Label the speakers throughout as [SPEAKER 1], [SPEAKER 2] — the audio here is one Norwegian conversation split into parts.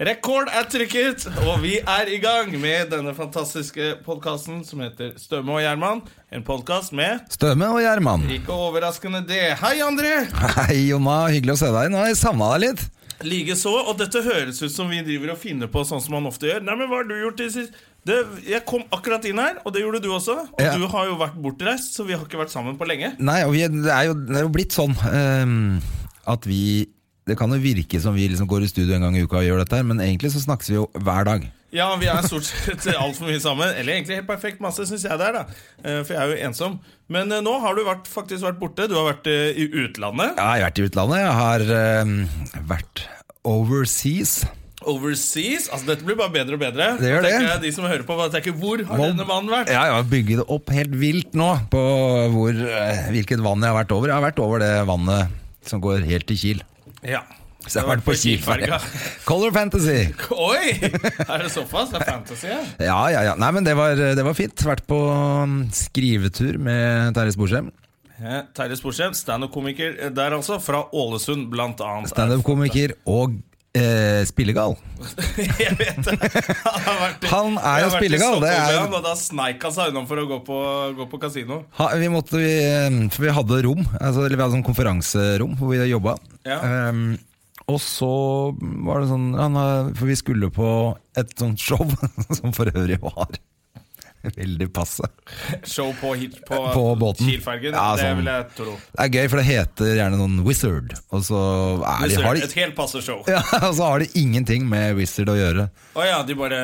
[SPEAKER 1] Rekord er trykket, og vi er i gang med denne fantastiske podkasten som heter Støme og Gjerman. En podkast med
[SPEAKER 2] Støme og Gjerman.
[SPEAKER 1] ikke overraskende det. Hei, André!
[SPEAKER 2] Hei, Jonna. Hyggelig å se deg. Nå har jeg savna deg litt.
[SPEAKER 1] Likeså. Og dette høres ut som vi driver og finner på sånn som man ofte gjør. Nei, men hva har du gjort i sist? Det, jeg kom akkurat inn her, og det gjorde du også. Og
[SPEAKER 2] Ja.
[SPEAKER 1] du har jo vært bortreist, så vi har ikke vært sammen på lenge.
[SPEAKER 2] Nei, og vi, det, er jo, det er jo blitt sånn ehm, at vi Det kan jo virke som vi liksom går i studio en gang i uka og gjør dette, her, men egentlig så snakkes vi jo hver dag.
[SPEAKER 1] Ja, vi er stort sett altfor mye sammen. Eller egentlig helt perfekt masse, syns jeg det er. da Eh, For jeg er jo ensom. Men eh, nå har du vært, faktisk vært borte. Du har vært eh, i utlandet.
[SPEAKER 2] Jeg har vært i utlandet. Jeg har ehm, vært overseas.
[SPEAKER 1] Overseas. Altså Dette blir bare bedre og bedre.
[SPEAKER 2] Det gjør det.
[SPEAKER 1] Tenker jeg, de som hører på, bare tenker 'Hvor har denne mannen vært?'
[SPEAKER 2] Ja, jeg har bygget det opp helt vilt nå på hvor, eh, hvilket vann jeg har vært over. Jeg har vært over det vannet som går helt til Kiel.
[SPEAKER 1] Ja.
[SPEAKER 2] Så jeg har vært på Kielferga.
[SPEAKER 1] Kielferga.
[SPEAKER 2] Color Fantasy.
[SPEAKER 1] Oi! Er det såpass? Det er fantasy, ja.
[SPEAKER 2] Ja, ja, ja. Nei, men det var, det var fint. Vært på mm, skrivetur med Terje Sporsem.
[SPEAKER 1] Eh, Terje Sporsem, standup-komiker eh, der altså. Fra Ålesund, blant annet.
[SPEAKER 2] Standup-komiker og eh, spillegal.
[SPEAKER 1] jeg vet det. Han, har vært, i-
[SPEAKER 2] Han er jo
[SPEAKER 1] jeg har vært i
[SPEAKER 2] spillegal, det
[SPEAKER 1] Stockholm
[SPEAKER 2] er-
[SPEAKER 1] med han, Og da sneik han seg unna for å gå på, gå på kasino.
[SPEAKER 2] Ha, vi, måtte, vi, eh, for vi hadde rom, altså, eller vi hadde sånn konferanserom hvor vi jobba.
[SPEAKER 1] Ja.
[SPEAKER 2] Ehm, og så var det sånn han, har- For vi skulle på et sånt show, som for øvrig var veldig passe.
[SPEAKER 1] Show på, hit, på,
[SPEAKER 2] På båten.
[SPEAKER 1] Kielfergen.
[SPEAKER 2] Ja,
[SPEAKER 1] Det
[SPEAKER 2] sånn.
[SPEAKER 1] vil jeg tro.
[SPEAKER 2] Det er gøy, for det heter gjerne noen Wizard, og så er de, har de,
[SPEAKER 1] Et helt passe show. Å
[SPEAKER 2] ja, og så har de ingenting med Wizard å gjøre.
[SPEAKER 1] ja, de bare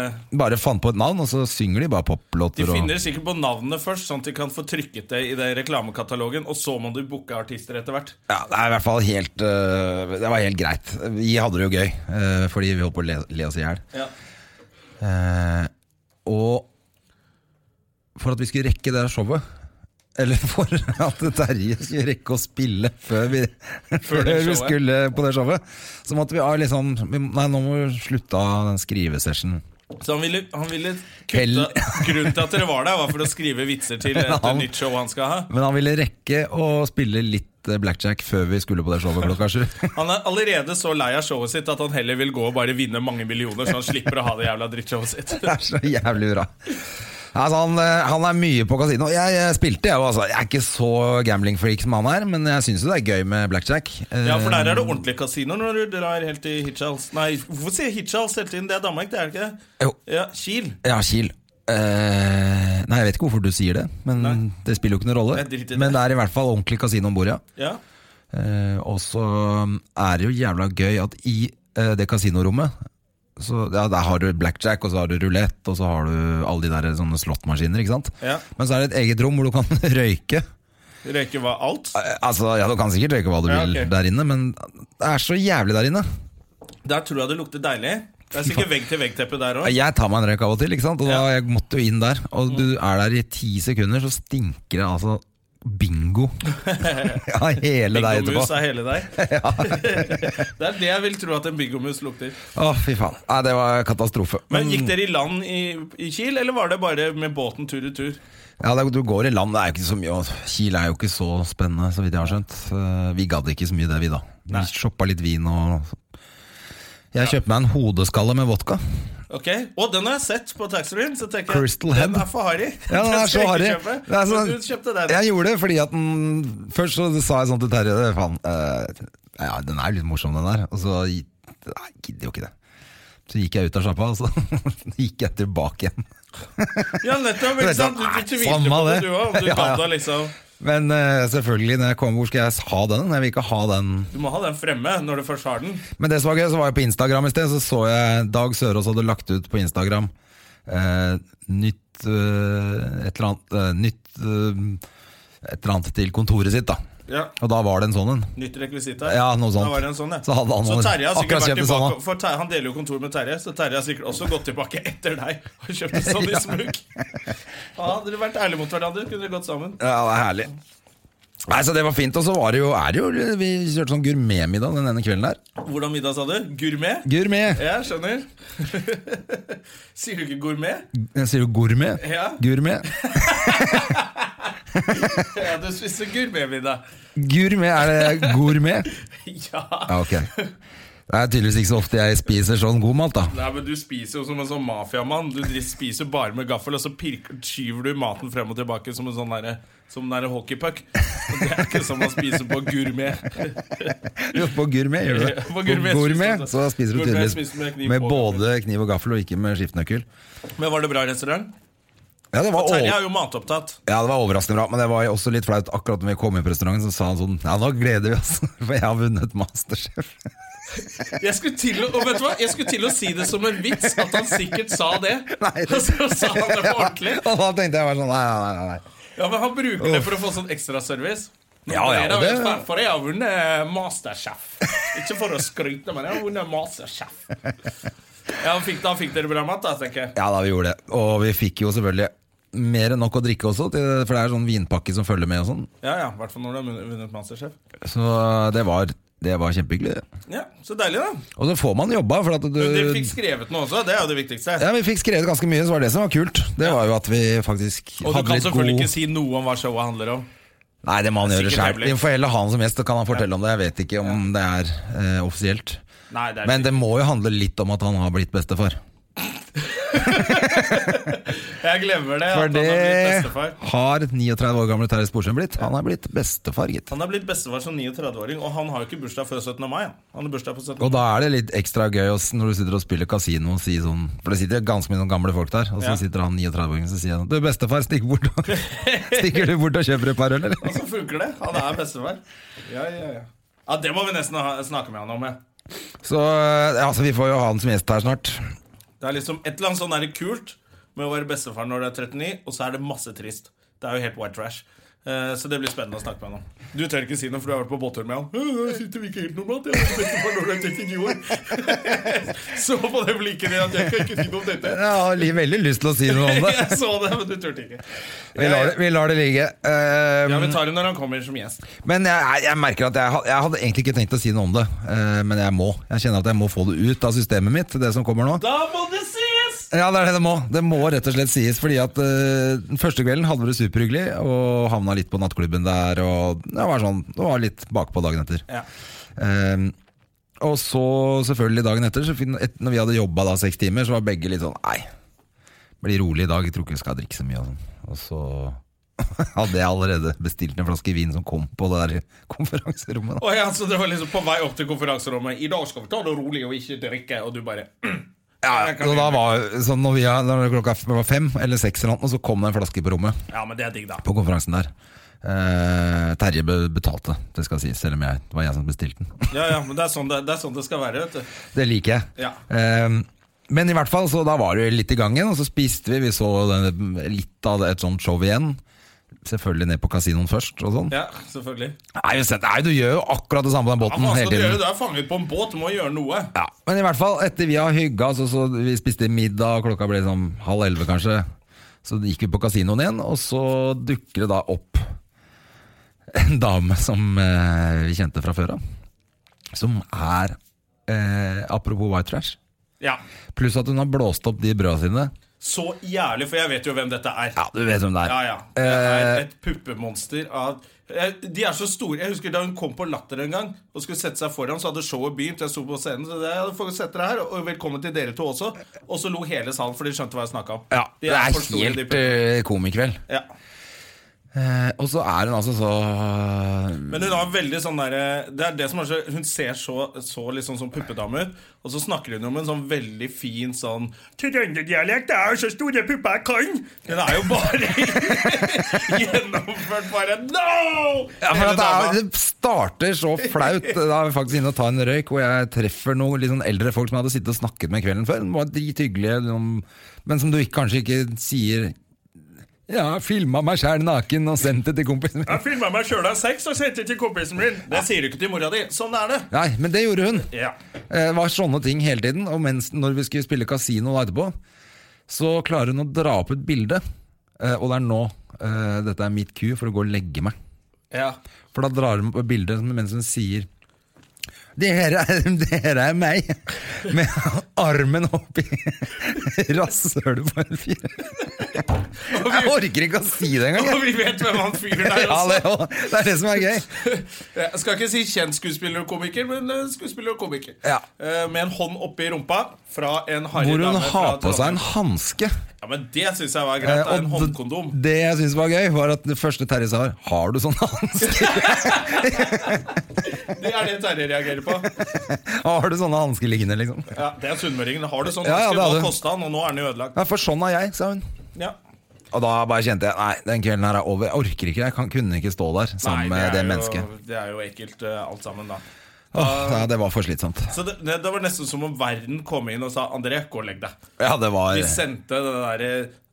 [SPEAKER 2] bare fant på et navn, og så synger de bare
[SPEAKER 1] De
[SPEAKER 2] poplåter.
[SPEAKER 1] finner sikkert på navnene først, sånn at de kan få trykket det i den reklamekatalogen, og så må du booke artister etter hvert.
[SPEAKER 2] Og... Ja, det er i hvert fall helt øh, Det var helt greit. Vi hadde det jo gøy, øh, fordi vi holdt på å le, le oss i hjel.
[SPEAKER 1] Ja.
[SPEAKER 2] Eh, og for at vi skulle rekke det showet eller for at Terje skulle rekke å spille før vi,
[SPEAKER 1] Før
[SPEAKER 2] før
[SPEAKER 1] det
[SPEAKER 2] vi
[SPEAKER 1] showet.
[SPEAKER 2] skulle på det showet. Så måtte vi ha liksom vi- Nei, nå må vi slutte av den skrivesessionen.
[SPEAKER 1] Så han ville, han ville
[SPEAKER 2] Hell.
[SPEAKER 1] kutte Grunnen til at dere var der, var for å skrive vitser til et
[SPEAKER 2] Han-
[SPEAKER 1] nytt show han skal ha.
[SPEAKER 2] Men han ville rekke å spille litt eh, blackjack før vi skulle på det showet klokka sju.
[SPEAKER 1] Han er allerede så lei av showet sitt at han heller vil gå og bare vinne mange millioner, så han slipper å ha det jævla drittshowet sitt.
[SPEAKER 2] Det er så jævlig bra. Altså, han, eh, han er mye på kasino. Jeg, eh, spilte, jeg òg. Altså. Jeg er ikke så gambling-freak som han er, men jeg syns jo det er gøy med blackjack. Eh,
[SPEAKER 1] Ja, for der er det ordentlige kasinoer når du drar helt til Hitchhals. Nei, hvorfor sier jeg Hitchhals hele tiden? Det er Danmark, det er det ikke det?
[SPEAKER 2] Jo.
[SPEAKER 1] Ja, Kiel.
[SPEAKER 2] Ja, Kiel. Eh, nei, jeg vet ikke hvorfor du sier det, men
[SPEAKER 1] Nei.
[SPEAKER 2] det spiller jo ikke noen rolle.
[SPEAKER 1] Jeg driter i det.
[SPEAKER 2] Men det er i hvert fall ordentlig kasino om bord, ja.
[SPEAKER 1] Ja.
[SPEAKER 2] Eh, og så er det jo jævla gøy at i eh, det kasinorommet så, ja, Der har du blackjack, og så har du rulett, og så har du alle de der sånne slåttmaskiner, ikke sant.
[SPEAKER 1] Ja.
[SPEAKER 2] Men så er det et eget rom hvor du kan røyke.
[SPEAKER 1] Røyke var alt.
[SPEAKER 2] Eh, Altså, ja, Du kan sikkert røyke hva du
[SPEAKER 1] Ja,
[SPEAKER 2] vil
[SPEAKER 1] ok.
[SPEAKER 2] der inne, men det er så jævlig der inne.
[SPEAKER 1] Der tror jeg det lukter deilig. Det er sikkert vegg-til-vegg-teppe der òg.
[SPEAKER 2] Jeg tar meg en røyk av og til, ikke sant? og da
[SPEAKER 1] Ja. Mm.
[SPEAKER 2] jeg måtte jo inn der. Og du er der i ti sekunder, så stinker det altså bingo ja, hele deg etterpå.
[SPEAKER 1] Bingomus er hele deg. det er det jeg vil tro at en bingomus lukter.
[SPEAKER 2] Å, fy faen. Nei, det var katastrofe.
[SPEAKER 1] Men Gikk dere i land i, i Kiel, eller var det bare med båten tur i tur?
[SPEAKER 2] Ja, det, er- Du går i land, det er jo ikke så mye og Kiel er jo ikke så spennende, så vidt jeg har skjønt. Eh, Vi gadd ikke så mye det, vi da. Vi shoppa litt vin og Jeg kjøpte meg en hodeskalle med vodka.
[SPEAKER 1] Ok, Og den har jeg sett på taxfree-en. Så tenker jeg,
[SPEAKER 2] Crystal Head.
[SPEAKER 1] den er for harry.
[SPEAKER 2] Ja, den er
[SPEAKER 1] skal
[SPEAKER 2] så
[SPEAKER 1] jeg
[SPEAKER 2] harry.
[SPEAKER 1] ikke
[SPEAKER 2] Det
[SPEAKER 1] kjøpe.
[SPEAKER 2] er
[SPEAKER 1] Men
[SPEAKER 2] sånn-
[SPEAKER 1] Du kjøpte den.
[SPEAKER 2] Jeg gjorde det fordi at den Først så sa jeg sånn til Terje Faen, eh, ja, den er litt morsom, den der. Og så gi- Nei, jeg gidder jo ikke det. Så gikk jeg ut av sjappa, og så gikk jeg tilbake igjen.
[SPEAKER 1] Ja, nettopp.
[SPEAKER 2] Du
[SPEAKER 1] ikke
[SPEAKER 2] vet at-
[SPEAKER 1] sant? Du,
[SPEAKER 2] Nei,
[SPEAKER 1] du tvilte
[SPEAKER 2] samme
[SPEAKER 1] på det,
[SPEAKER 2] det.
[SPEAKER 1] du òg. Du
[SPEAKER 2] Ja,
[SPEAKER 1] ga
[SPEAKER 2] ja.
[SPEAKER 1] deg liksom
[SPEAKER 2] Men eh, selvfølgelig, når jeg kom, hvor skal jeg ha den? Jeg vil ikke ha den
[SPEAKER 1] Du må ha den fremme når du først har den.
[SPEAKER 2] Men det som var gøy, så var jeg på Instagram i sted, så så jeg Dag Sørås hadde lagt ut på Instagram eh, nytt eh, et eller annet eh, nytt eh, et eller annet til kontoret sitt, da.
[SPEAKER 1] Ja.
[SPEAKER 2] Og da var det en sånn en.
[SPEAKER 1] Nytt rekvisitt her.
[SPEAKER 2] Ja, noe sånt.
[SPEAKER 1] Da var det en sånn, ja.
[SPEAKER 2] Så hadde han
[SPEAKER 1] så Terje har sikkert
[SPEAKER 2] akkurat
[SPEAKER 1] vært
[SPEAKER 2] kjøpt en sånn,
[SPEAKER 1] tilbake for Terje, Han deler jo kontor med Terje, så Terje har sikkert også gått tilbake etter deg og kjøpt en sånn i smug. Ja, hadde dere vært ærlige mot hverandre, kunne dere gått sammen.
[SPEAKER 2] Ja, det er herlig. Nei, så Det var fint. Og så var det jo, er det jo Vi kjørte sånn gourmetmiddag den ene kvelden der.
[SPEAKER 1] Hvordan middag sa du? Gourmet?
[SPEAKER 2] Gourmet.
[SPEAKER 1] Ja, skjønner. Sier du ikke gourmet?
[SPEAKER 2] Jeg sier jo gourmet.
[SPEAKER 1] Ja.
[SPEAKER 2] Gourmet.
[SPEAKER 1] Ja, du spiste gourmetmiddag.
[SPEAKER 2] Gourmet, er det gourmet?
[SPEAKER 1] Ja.
[SPEAKER 2] Ja, ok. Det er tydeligvis ikke så ofte jeg spiser sånn god mat, da.
[SPEAKER 1] Nei, men Du spiser jo som en sånn mafiamann. Du dri- spiser bare med gaffel, og så pirker, skyver du maten frem og tilbake som en sånn derre- som en derre hockeypuck. Og Det er ikke som å spise på gourmet.
[SPEAKER 2] Jo, på gourmet gjør du det.
[SPEAKER 1] På gourmet spiser du-
[SPEAKER 2] så spiser du
[SPEAKER 1] gourmet
[SPEAKER 2] tydeligvis
[SPEAKER 1] spiser med kniv
[SPEAKER 2] med
[SPEAKER 1] og
[SPEAKER 2] både kniv og gaffel, og ikke med skiftenøkkel.
[SPEAKER 1] Men var det bra restaurant?
[SPEAKER 2] Ja, det var,
[SPEAKER 1] Terje
[SPEAKER 2] over...
[SPEAKER 1] er jo matopptatt.
[SPEAKER 2] ja, det var overraskende bra, men det var også litt flaut. Akkurat når vi kom inn på restauranten, så sa han sånn Ja, nå gleder vi oss, for jeg har vunnet Masterchef.
[SPEAKER 1] Jeg skulle, til å, og vet du hva? jeg skulle til å si det som en vits, at han sikkert sa det.
[SPEAKER 2] Nei.
[SPEAKER 1] Og så sa han det på ordentlig.
[SPEAKER 2] Og da tenkte jeg bare sånn Nei, nei, nei. nei.
[SPEAKER 1] Ja, Men han bruker det for å få sånn ekstraservice.
[SPEAKER 2] Ja, ja,
[SPEAKER 1] det,
[SPEAKER 2] og det-
[SPEAKER 1] er vel for jeg har vunnet eh, Masterchef. Ikke for å skryte, men jeg har vunnet Masterchef. Ja, fikk, da fikk dere bra mat, da, tenker jeg.
[SPEAKER 2] Ja, da vi gjorde det. Og vi fikk jo selvfølgelig mer enn nok å drikke også, til- for det er sånn vinpakke som følger med og sånn.
[SPEAKER 1] Ja, ja, I hvert fall når du har vunnet- vunnet Masterchef.
[SPEAKER 2] Så det var, det var kjempehyggelig. det.
[SPEAKER 1] Ja, Så deilig, da.
[SPEAKER 2] Og så får man jobba, for at du
[SPEAKER 1] Men dere fikk skrevet noe også. Det er jo det viktigste.
[SPEAKER 2] ja, Vi fikk skrevet ganske mye, så var det som var kult. Det var jo at vi faktisk
[SPEAKER 1] Og du
[SPEAKER 2] hadde
[SPEAKER 1] kan
[SPEAKER 2] litt
[SPEAKER 1] selvfølgelig
[SPEAKER 2] god
[SPEAKER 1] ikke si noe om hva showet handler om.
[SPEAKER 2] Nei, det må han gjøre
[SPEAKER 1] Sikkert
[SPEAKER 2] sjøl.
[SPEAKER 1] hemmelig.
[SPEAKER 2] Vi får heller ha han som gjest, så kan han fortelle om det. Jeg vet ikke om det er eh, offisielt.
[SPEAKER 1] Nei, det er
[SPEAKER 2] Men det må jo handle litt om at han har blitt bestefar.
[SPEAKER 1] Jeg glemmer det.
[SPEAKER 2] For
[SPEAKER 1] at
[SPEAKER 2] det
[SPEAKER 1] han har blitt bestefar.
[SPEAKER 2] har 39 år gamle Terje Sporsem blitt. Han er blitt bestefar, gitt.
[SPEAKER 1] Han har blitt bestefar som 39-åring, og han har jo ikke bursdag før 17. mai. han. Han har bursdag på 17.
[SPEAKER 2] Og da er det litt ekstra gøy å s- når du sitter og spiller kasino og sier sånn For det sitter ganske mye sånn gamle folk der, og så
[SPEAKER 1] Ja.
[SPEAKER 2] sitter han 39-åringen og sier han, Du, bestefar, stikk bort og Stikker du bort og kjøper et par øl, eller?
[SPEAKER 1] Så funker det. Han er bestefar. Ja, ja, ja. ja, det må vi nesten ha, snakke med han om. Ja.
[SPEAKER 2] Så eh, altså, vi får jo ha han som gjest her snart.
[SPEAKER 1] Det er liksom et eller annet sånn der kult med å være bestefar når du er 39, og så er det masse trist. Det er jo helt white trash. Eh, Så det blir spennende å snakke med han om. Du tør ikke si noe, for du har vært på båttur med han. «Øh, Jeg sitter ikke helt normalt, jeg er bestefar når du er 39 år. Så på det blikket ditt at jeg kan ikke si noe om dette.
[SPEAKER 2] Jeg har li- veldig lyst til å si noe om det.
[SPEAKER 1] Jeg så det, men du turte ikke.
[SPEAKER 2] Vi lar det, vi lar det ligge. Eh,
[SPEAKER 1] Ja, Vi tar det når han kommer som gjest.
[SPEAKER 2] Men jeg, jeg merker at jeg, had- jeg hadde egentlig ikke tenkt å si noe om det, eh, men jeg må. Jeg kjenner at jeg må få det ut av systemet mitt, det som kommer nå.
[SPEAKER 1] Da må det sies!
[SPEAKER 2] Ja, det er det det må. Det må rett og slett sies, fordi at eh, den første kvelden hadde vi det superhyggelig, og havna litt på nattklubben der, og det var sånn, det var litt bakpå dagen etter.
[SPEAKER 1] Ja.
[SPEAKER 2] Eh, og så selvfølgelig dagen etter, så fin- et, når vi hadde jobba da seks timer, så var begge litt sånn, nei, blir rolig i dag, jeg tror ikke vi skal drikke så mye og sånn. Og så hadde jeg allerede bestilt en flaske vin som kom på det der konferanserommet da.
[SPEAKER 1] Å ja, så det var liksom på vei opp til konferanserommet. I dag skal vi ta det rolig og ikke drikke. Og du bare "Mm,
[SPEAKER 2] Ja,
[SPEAKER 1] jeg kan
[SPEAKER 2] så da
[SPEAKER 1] bli-
[SPEAKER 2] var, så når, vi, når klokka var fem eller seks eller noe, så kom det en flaske på rommet.
[SPEAKER 1] Ja, men det er digg, da.
[SPEAKER 2] på konferansen der. Eh, Terje be- betalte, det skal sies, selv om jeg, det var jeg som bestilte den.
[SPEAKER 1] Ja, ja, men det er sånn det, det, er sånn det skal være, vet du.
[SPEAKER 2] Det liker jeg.
[SPEAKER 1] Ja.
[SPEAKER 2] Eh, men i hvert fall, så da var det jo litt i gangen, og så spiste vi. Vi så den- litt av et sånt show igjen. Selvfølgelig ned på kasinoen først og sånn.
[SPEAKER 1] Ja, selvfølgelig.
[SPEAKER 2] Nei, men se- nei, du gjør jo akkurat det samme på den
[SPEAKER 1] Ja,
[SPEAKER 2] båten
[SPEAKER 1] faen
[SPEAKER 2] hele
[SPEAKER 1] skal du gjøre?
[SPEAKER 2] tiden.
[SPEAKER 1] Du er fanget på en båt, du må gjøre noe.
[SPEAKER 2] Ja, men i hvert fall, etter vi har hygga, så, så vi spiste middag, og klokka ble sånn halv elleve kanskje. Så gikk vi på kasinoen igjen, og så dukker det da opp en dame som eh, vi kjente fra før av. Som er eh, Apropos white trash.
[SPEAKER 1] Ja,
[SPEAKER 2] Pluss at hun har blåst opp de brøda sine.
[SPEAKER 1] Så jævlig, for jeg vet jo hvem dette er.
[SPEAKER 2] Ja, du vet hvem det er.
[SPEAKER 1] Ja, ja. Det
[SPEAKER 2] Eh.
[SPEAKER 1] er et puppemonster av Eh, De er så store. Jeg husker da hun kom på Latter en gang og skulle sette seg foran, så hadde showet begynt. Jeg sto på scenen, så jeg hadde fått sette dere her, og velkommen til dere to også. Og så lo hele salen, for de skjønte hva jeg snakka om.
[SPEAKER 2] Ja,
[SPEAKER 1] De
[SPEAKER 2] det er
[SPEAKER 1] for store, de
[SPEAKER 2] helt
[SPEAKER 1] puppene.
[SPEAKER 2] eh, komikveld.
[SPEAKER 1] ja.
[SPEAKER 2] Eh, og så er hun altså så
[SPEAKER 1] Men hun har veldig sånn der, Det er det som er så Hun ser så, så liksom som puppedame ut, og så snakker hun om en sånn veldig fin sånn Trønderdialekt det er jo så store pupper jeg kan! Den er jo bare gjennomført bare No!
[SPEAKER 2] Ja, for at
[SPEAKER 1] Hele
[SPEAKER 2] det,
[SPEAKER 1] dama.
[SPEAKER 2] er, det starter så flaut. Da er vi faktisk inne og tar en røyk, og jeg treffer noen litt sånn eldre folk som jeg hadde sittet og snakket med kvelden før. De var drithyggelige, liksom, men som du ikke, kanskje ikke sier Jeg har filma meg sjæl naken og sendt det til kompisen min.
[SPEAKER 1] Jeg filma meg sjøl av sex og sendte det til kompisen min. Det sier du ikke til mora di. Sånn er det.
[SPEAKER 2] Nei, men det gjorde hun.
[SPEAKER 1] Ja.
[SPEAKER 2] Eh, var sånne ting hele tiden. Og mens, når vi skulle spille kasino da etterpå, så klarer hun å dra opp et bilde. Eh, og det er nå. Eh, dette er mitt ku for å gå og legge meg.
[SPEAKER 1] ja.
[SPEAKER 2] For da drar hun opp et bilde mens hun sier det her, er, det her er meg, med armen oppi rasshølet på en fyr.
[SPEAKER 1] Og,
[SPEAKER 2] Jeg
[SPEAKER 1] vi,
[SPEAKER 2] orker ikke å si det engang.
[SPEAKER 1] og
[SPEAKER 2] jeg.
[SPEAKER 1] vi vet hvem han fyren er
[SPEAKER 2] Ja, det,
[SPEAKER 1] også.
[SPEAKER 2] er jo- det er det som er gøy.
[SPEAKER 1] Jeg skal ikke si kjent skuespiller og komiker, men eh, skuespiller og komiker.
[SPEAKER 2] Ja.
[SPEAKER 1] Eh, Med en hånd oppi rumpa fra en harry
[SPEAKER 2] Hvor hun
[SPEAKER 1] dame fra
[SPEAKER 2] har på seg en
[SPEAKER 1] Trondheim.
[SPEAKER 2] hanske. Eh,
[SPEAKER 1] Ja, men Det syns jeg var greit. da. En
[SPEAKER 2] og d-
[SPEAKER 1] håndkondom.
[SPEAKER 2] det jeg syns var gøy, var at det første Terje sa var Har du sånn hanske?
[SPEAKER 1] Det er det Terje reagerer på.
[SPEAKER 2] Har du sånne hansker liggende, liksom?
[SPEAKER 1] Ja, det er sunnmøringen. Har du sånn?
[SPEAKER 2] Ja, ja, det
[SPEAKER 1] skulle
[SPEAKER 2] hadde
[SPEAKER 1] nå
[SPEAKER 2] hun.
[SPEAKER 1] koste han, og nå er den jo ødelagt.
[SPEAKER 2] Ja, for sånn er jeg, sa hun.
[SPEAKER 1] Ja.
[SPEAKER 2] Og da bare kjente jeg Nei, den kvelden her er over. Jeg orker ikke. Jeg kan, kunne ikke stå der sammen
[SPEAKER 1] Nei,
[SPEAKER 2] med det
[SPEAKER 1] er
[SPEAKER 2] mennesket.
[SPEAKER 1] Jo, det er jo ekkelt, eh, alt sammen, da.
[SPEAKER 2] Åh, ja, det var for slitsomt.
[SPEAKER 1] Så det, det, det var nesten som om verden kom inn og sa André, gå og legg deg.
[SPEAKER 2] Ja, det var
[SPEAKER 1] Vi sendte den derre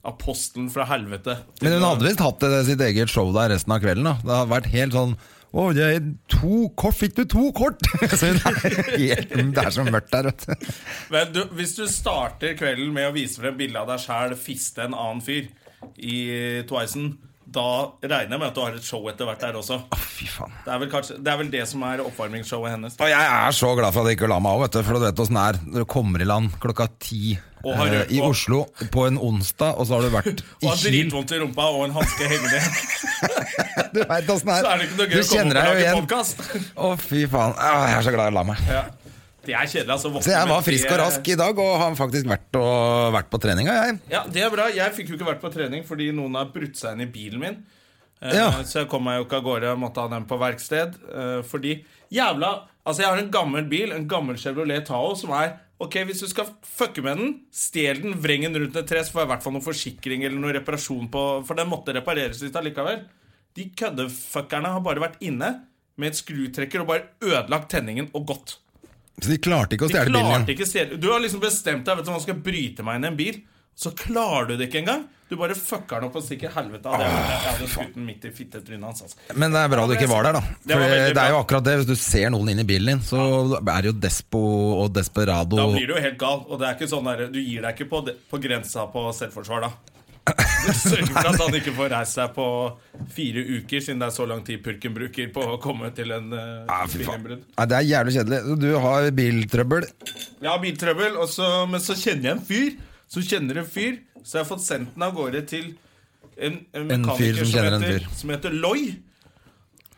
[SPEAKER 1] apostelen fra helvete. til-
[SPEAKER 2] Men hun hadde visst hatt det, sitt eget show der resten av kvelden. da Det har vært helt sånn å, jeg, to kort, fikk du to kort?! Så hun er helt, det er så mørkt der, vet du.
[SPEAKER 1] Men du, hvis du starter kvelden med å vise frem bilde av deg sjæl fiste en annen fyr i Twicen, da regner jeg med at du har et show etter hvert der også.
[SPEAKER 2] Å, Fy faen.
[SPEAKER 1] Det er vel, kanskje, det, er vel det som er oppvarmingsshowet hennes.
[SPEAKER 2] Og jeg er så glad for at jeg ikke la meg av, vet du, for du vet åssen det er når du kommer i land klokka ti
[SPEAKER 1] Og har
[SPEAKER 2] eh,
[SPEAKER 1] rørt
[SPEAKER 2] i
[SPEAKER 1] på.
[SPEAKER 2] Oslo på en onsdag, og så har du vært
[SPEAKER 1] Og
[SPEAKER 2] i
[SPEAKER 1] har
[SPEAKER 2] Kiel.
[SPEAKER 1] dritvondt i rumpa og en hanske hengende.
[SPEAKER 2] Du vet åssen
[SPEAKER 1] Så
[SPEAKER 2] det
[SPEAKER 1] er
[SPEAKER 2] er.
[SPEAKER 1] det ikke noe
[SPEAKER 2] Du
[SPEAKER 1] gøy å komme
[SPEAKER 2] kjenner deg
[SPEAKER 1] opp og
[SPEAKER 2] jo
[SPEAKER 1] lage
[SPEAKER 2] igjen.
[SPEAKER 1] podkast.
[SPEAKER 2] Å, fy faen. Ah, jeg er så glad jeg la meg.
[SPEAKER 1] Ja. Det er kjedelig, altså.
[SPEAKER 2] Så jeg var frisk og rask i dag, og har faktisk vært, og, vært på treninga, jeg.
[SPEAKER 1] Ja, det er bra. Jeg fikk jo ikke vært på trening fordi noen har brutt seg inn i bilen min. Eh,
[SPEAKER 2] Ja.
[SPEAKER 1] Så jeg kom meg jo ikke av gårde og måtte ha den på verksted. eh, Fordi jævla Altså, jeg har en gammel bil, en gammel Chevrolet Tao, som er Ok, hvis du skal fucke med den, stjel den, vreng den rundt et tre, så får jeg i hvert fall noen forsikring eller noe reparasjon på For den måtte repareres litt allikevel. De køddefuckerne har bare vært inne med et skrutrekker og bare ødelagt tenningen og gått.
[SPEAKER 2] Så de klarte ikke å
[SPEAKER 1] De
[SPEAKER 2] stjele bilen.
[SPEAKER 1] klarte ikke stjele Du har liksom bestemt deg Vet du hva, nå skal jeg bryte meg inn i en bil Så klarer du det ikke engang Du bare fucker den opp og stikker helvete av det
[SPEAKER 2] Ah,
[SPEAKER 1] Jeg hadde skutt den midt i fittetrynet hans altså.
[SPEAKER 2] Men det er bra du ikke var der, da.
[SPEAKER 1] Det var
[SPEAKER 2] For det,
[SPEAKER 1] veldig
[SPEAKER 2] er jo
[SPEAKER 1] bra.
[SPEAKER 2] akkurat det. Hvis du ser noen inn i bilen din, så er det jo despo og desperado.
[SPEAKER 1] Da blir du jo helt gal Og det er ikke sånn der Du gir deg ikke på, det- på grensa på selvforsvar da Du sørger for at han ikke får reise seg på fire uker Siden det er så lang tid purken bruker På å komme til en eh,
[SPEAKER 2] Ja, Ah, fy faen.
[SPEAKER 1] bilinnbrudd
[SPEAKER 2] Nei, det er jævlig kjedelig. Så Du har biltrøbbel.
[SPEAKER 1] Jeg har biltrøbbel, og så- men så kjenner jeg en fyr som kjenner en fyr. Så jeg har fått sendt den av gårde til en, en,
[SPEAKER 2] En
[SPEAKER 1] mekaniker
[SPEAKER 2] fyr som kjenner en
[SPEAKER 1] heter,
[SPEAKER 2] fyr.
[SPEAKER 1] Som heter Loy.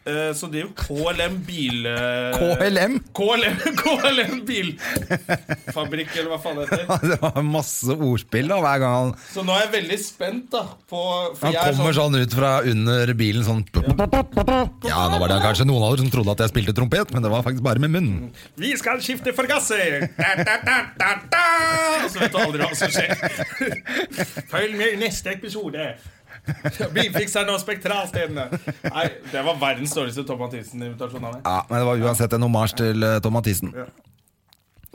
[SPEAKER 1] eh, som driver KLM bil... eh,
[SPEAKER 2] KLM?
[SPEAKER 1] KLM, KLM bilfabrikk, eller hva faen det heter.
[SPEAKER 2] Det var masse ordspill da hver gang han,
[SPEAKER 1] Så nå er jeg veldig spent, da. På, for
[SPEAKER 2] han
[SPEAKER 1] jeg er
[SPEAKER 2] kommer
[SPEAKER 1] sånn,
[SPEAKER 2] sånn ut fra under bilen sånn Ja, nå var det kanskje noen av dere som trodde at jeg spilte trompet, men det var faktisk bare med munnen.
[SPEAKER 1] Vi skal skifte forgasser! Da, da, da, da, da. Og så vet du aldri hva som skjer. Følg med i neste episode. Bilfikseren og spektralstedene. Nei, Det var verdens dårligste Tom Mathisen-invitasjon av meg.
[SPEAKER 2] Ja, Men det var uansett en homasj til eh, Tom Mathisen.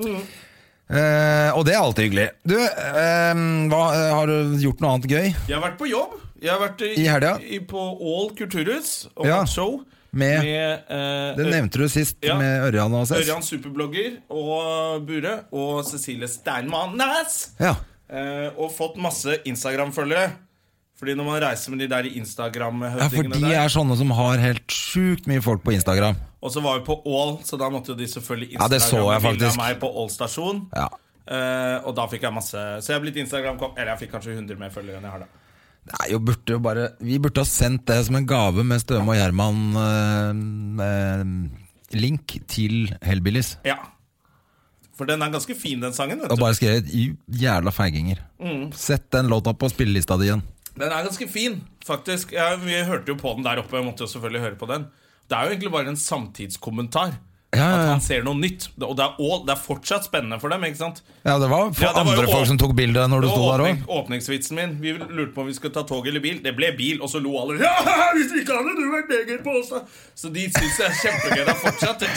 [SPEAKER 2] Eh, og det er alltid hyggelig. Du, eh, hva, eh, har du gjort noe annet gøy?
[SPEAKER 1] Jeg har vært på jobb. Jeg har vært i,
[SPEAKER 2] I helga?
[SPEAKER 1] i- på Ål kulturhus og
[SPEAKER 2] Ja.
[SPEAKER 1] hatt show
[SPEAKER 2] Med-
[SPEAKER 1] eh,
[SPEAKER 2] Det nevnte du sist
[SPEAKER 1] Ja.
[SPEAKER 2] med Ørjan og Cess.
[SPEAKER 1] Ørjan Superblogger og Bure og Cecilie Steinmann Næss.
[SPEAKER 2] Ja.
[SPEAKER 1] Eh, og fått masse Instagram-følgere. Fordi når man reiser med de der
[SPEAKER 2] ja, for
[SPEAKER 1] Instagram-høvdingene
[SPEAKER 2] de
[SPEAKER 1] der
[SPEAKER 2] er sånne som har helt sjukt mye folk på Instagram.
[SPEAKER 1] Og så var vi på Ål, så da måtte jo de selvfølgelig
[SPEAKER 2] Ja, det så jeg
[SPEAKER 1] Instagram-bilde
[SPEAKER 2] faktisk.
[SPEAKER 1] av meg på Ål stasjon.
[SPEAKER 2] Ja.
[SPEAKER 1] Eh, og da fikk jeg masse Så jeg er blitt instagram Eller jeg fikk kanskje 100 mer følgere enn jeg har da.
[SPEAKER 2] Det er jo burde jo bare Vi burde ha sendt det som en gave med Støme og Gjerman eh, eh, link til Hellbillies.
[SPEAKER 1] Ja. For den er ganske fin, den sangen. vet
[SPEAKER 2] Og
[SPEAKER 1] du
[SPEAKER 2] bare skrevet "Ju- 'jævla feiginger'.
[SPEAKER 1] Mm.
[SPEAKER 2] Sett den låta på spillelista di igjen.
[SPEAKER 1] Den er ganske fin, faktisk. Ja, vi hørte jo på den der oppe. Jeg måtte jo selvfølgelig høre på den. Det er jo egentlig bare en samtidskommentar.
[SPEAKER 2] Ja, ja,
[SPEAKER 1] At
[SPEAKER 2] ja.
[SPEAKER 1] han ser noe nytt. Og det er, Ål. det er fortsatt spennende for dem. ikke sant?
[SPEAKER 2] Ja, det var for
[SPEAKER 1] Ja, det var jo
[SPEAKER 2] andre folk
[SPEAKER 1] åp-
[SPEAKER 2] som tok bilde når du
[SPEAKER 1] Det
[SPEAKER 2] sto
[SPEAKER 1] var
[SPEAKER 2] der
[SPEAKER 1] åpning,
[SPEAKER 2] òg.
[SPEAKER 1] åpningsvitsen min. Vi lurte på om vi skulle ta tog eller bil. Det ble bil, og så lo alle. Ja, hvis vi ikke hadde du vært neger på oss da Så de syns det er kjempegøy da fortsatt. ikke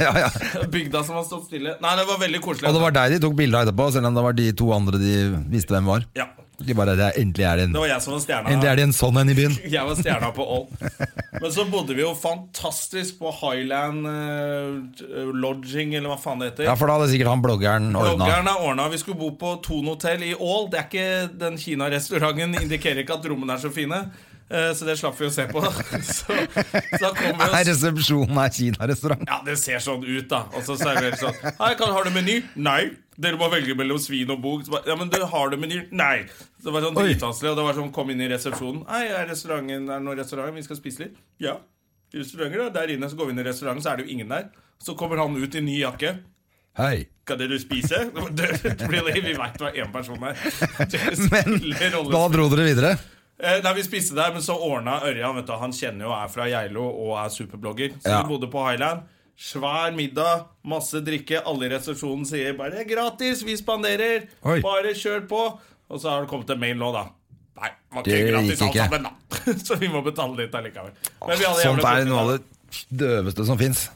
[SPEAKER 2] ja, ja.
[SPEAKER 1] Bygda som har stått stille. Nei, det var veldig koselig.
[SPEAKER 2] Og det var deg de tok bilde av etterpå, selv om det var de to andre de visste hvem var.
[SPEAKER 1] Ja,
[SPEAKER 2] De bare, det er, endelig er det en
[SPEAKER 1] Det var jeg som var stjerna.
[SPEAKER 2] Endelig er det en sånn en i byen.
[SPEAKER 1] Jeg var stjerna på Ål. Men så bodde vi jo fantastisk på Highland eh, Lodging, eller hva faen det heter.
[SPEAKER 2] Ja, for da hadde sikkert han bloggeren ordna.
[SPEAKER 1] Bloggeren har ordna. Vi skulle bo på Thon hotell i Ål. Det er ikke Den Kina-restauranten indikerer ikke at rommene er så fine. Eh, Så det slapp vi å se på. Så, så da kom vi
[SPEAKER 2] Nei,
[SPEAKER 1] oss
[SPEAKER 2] resepsjonen er Kina-restaurant.
[SPEAKER 1] Ja, det ser sånn ut, da. Og så serverer de sånn Hei, kan, 'Har du meny?' 'Nei.' 'Dere må velge mellom svin og bok.' Så bare, 'Ja, men du, har du meny?' 'Nei.' Så Det var sånn dritvanskelig. Og det var sånn, kom inn i resepsjonen. 'Hei, er restauranten er det noen restaurant? Vi skal spise litt.' 'Ja.' Restauranter, da. Der inne, så går vi inn i restauranten, så er det jo ingen der. Så kommer han ut i ny jakke.
[SPEAKER 2] Hei.
[SPEAKER 1] Skal dere spise? Really? Vi veit hva én person er.
[SPEAKER 2] Men da dro dere videre.
[SPEAKER 1] Eh, Nei, Vi spiste der, men så ordna Ørjan vet du, Han kjenner jo er fra Geilo og er superblogger. Så
[SPEAKER 2] Ja.
[SPEAKER 1] vi bodde på Highland. Svær middag, masse drikke. Alle i resepsjonen sier bare 'Det er 'gratis', vi spanderer'.
[SPEAKER 2] Oi.
[SPEAKER 1] Bare kjør på. Og så har det kommet en mail nå, da. Nei, det var ikke
[SPEAKER 2] Det
[SPEAKER 1] gratis
[SPEAKER 2] gikk
[SPEAKER 1] alt
[SPEAKER 2] ikke.
[SPEAKER 1] sammen, da. Så vi må betale litt allikevel. Men vi hadde
[SPEAKER 2] Sånt
[SPEAKER 1] jævlig
[SPEAKER 2] er
[SPEAKER 1] koselig,
[SPEAKER 2] noe av
[SPEAKER 1] da.
[SPEAKER 2] det døveste som fins.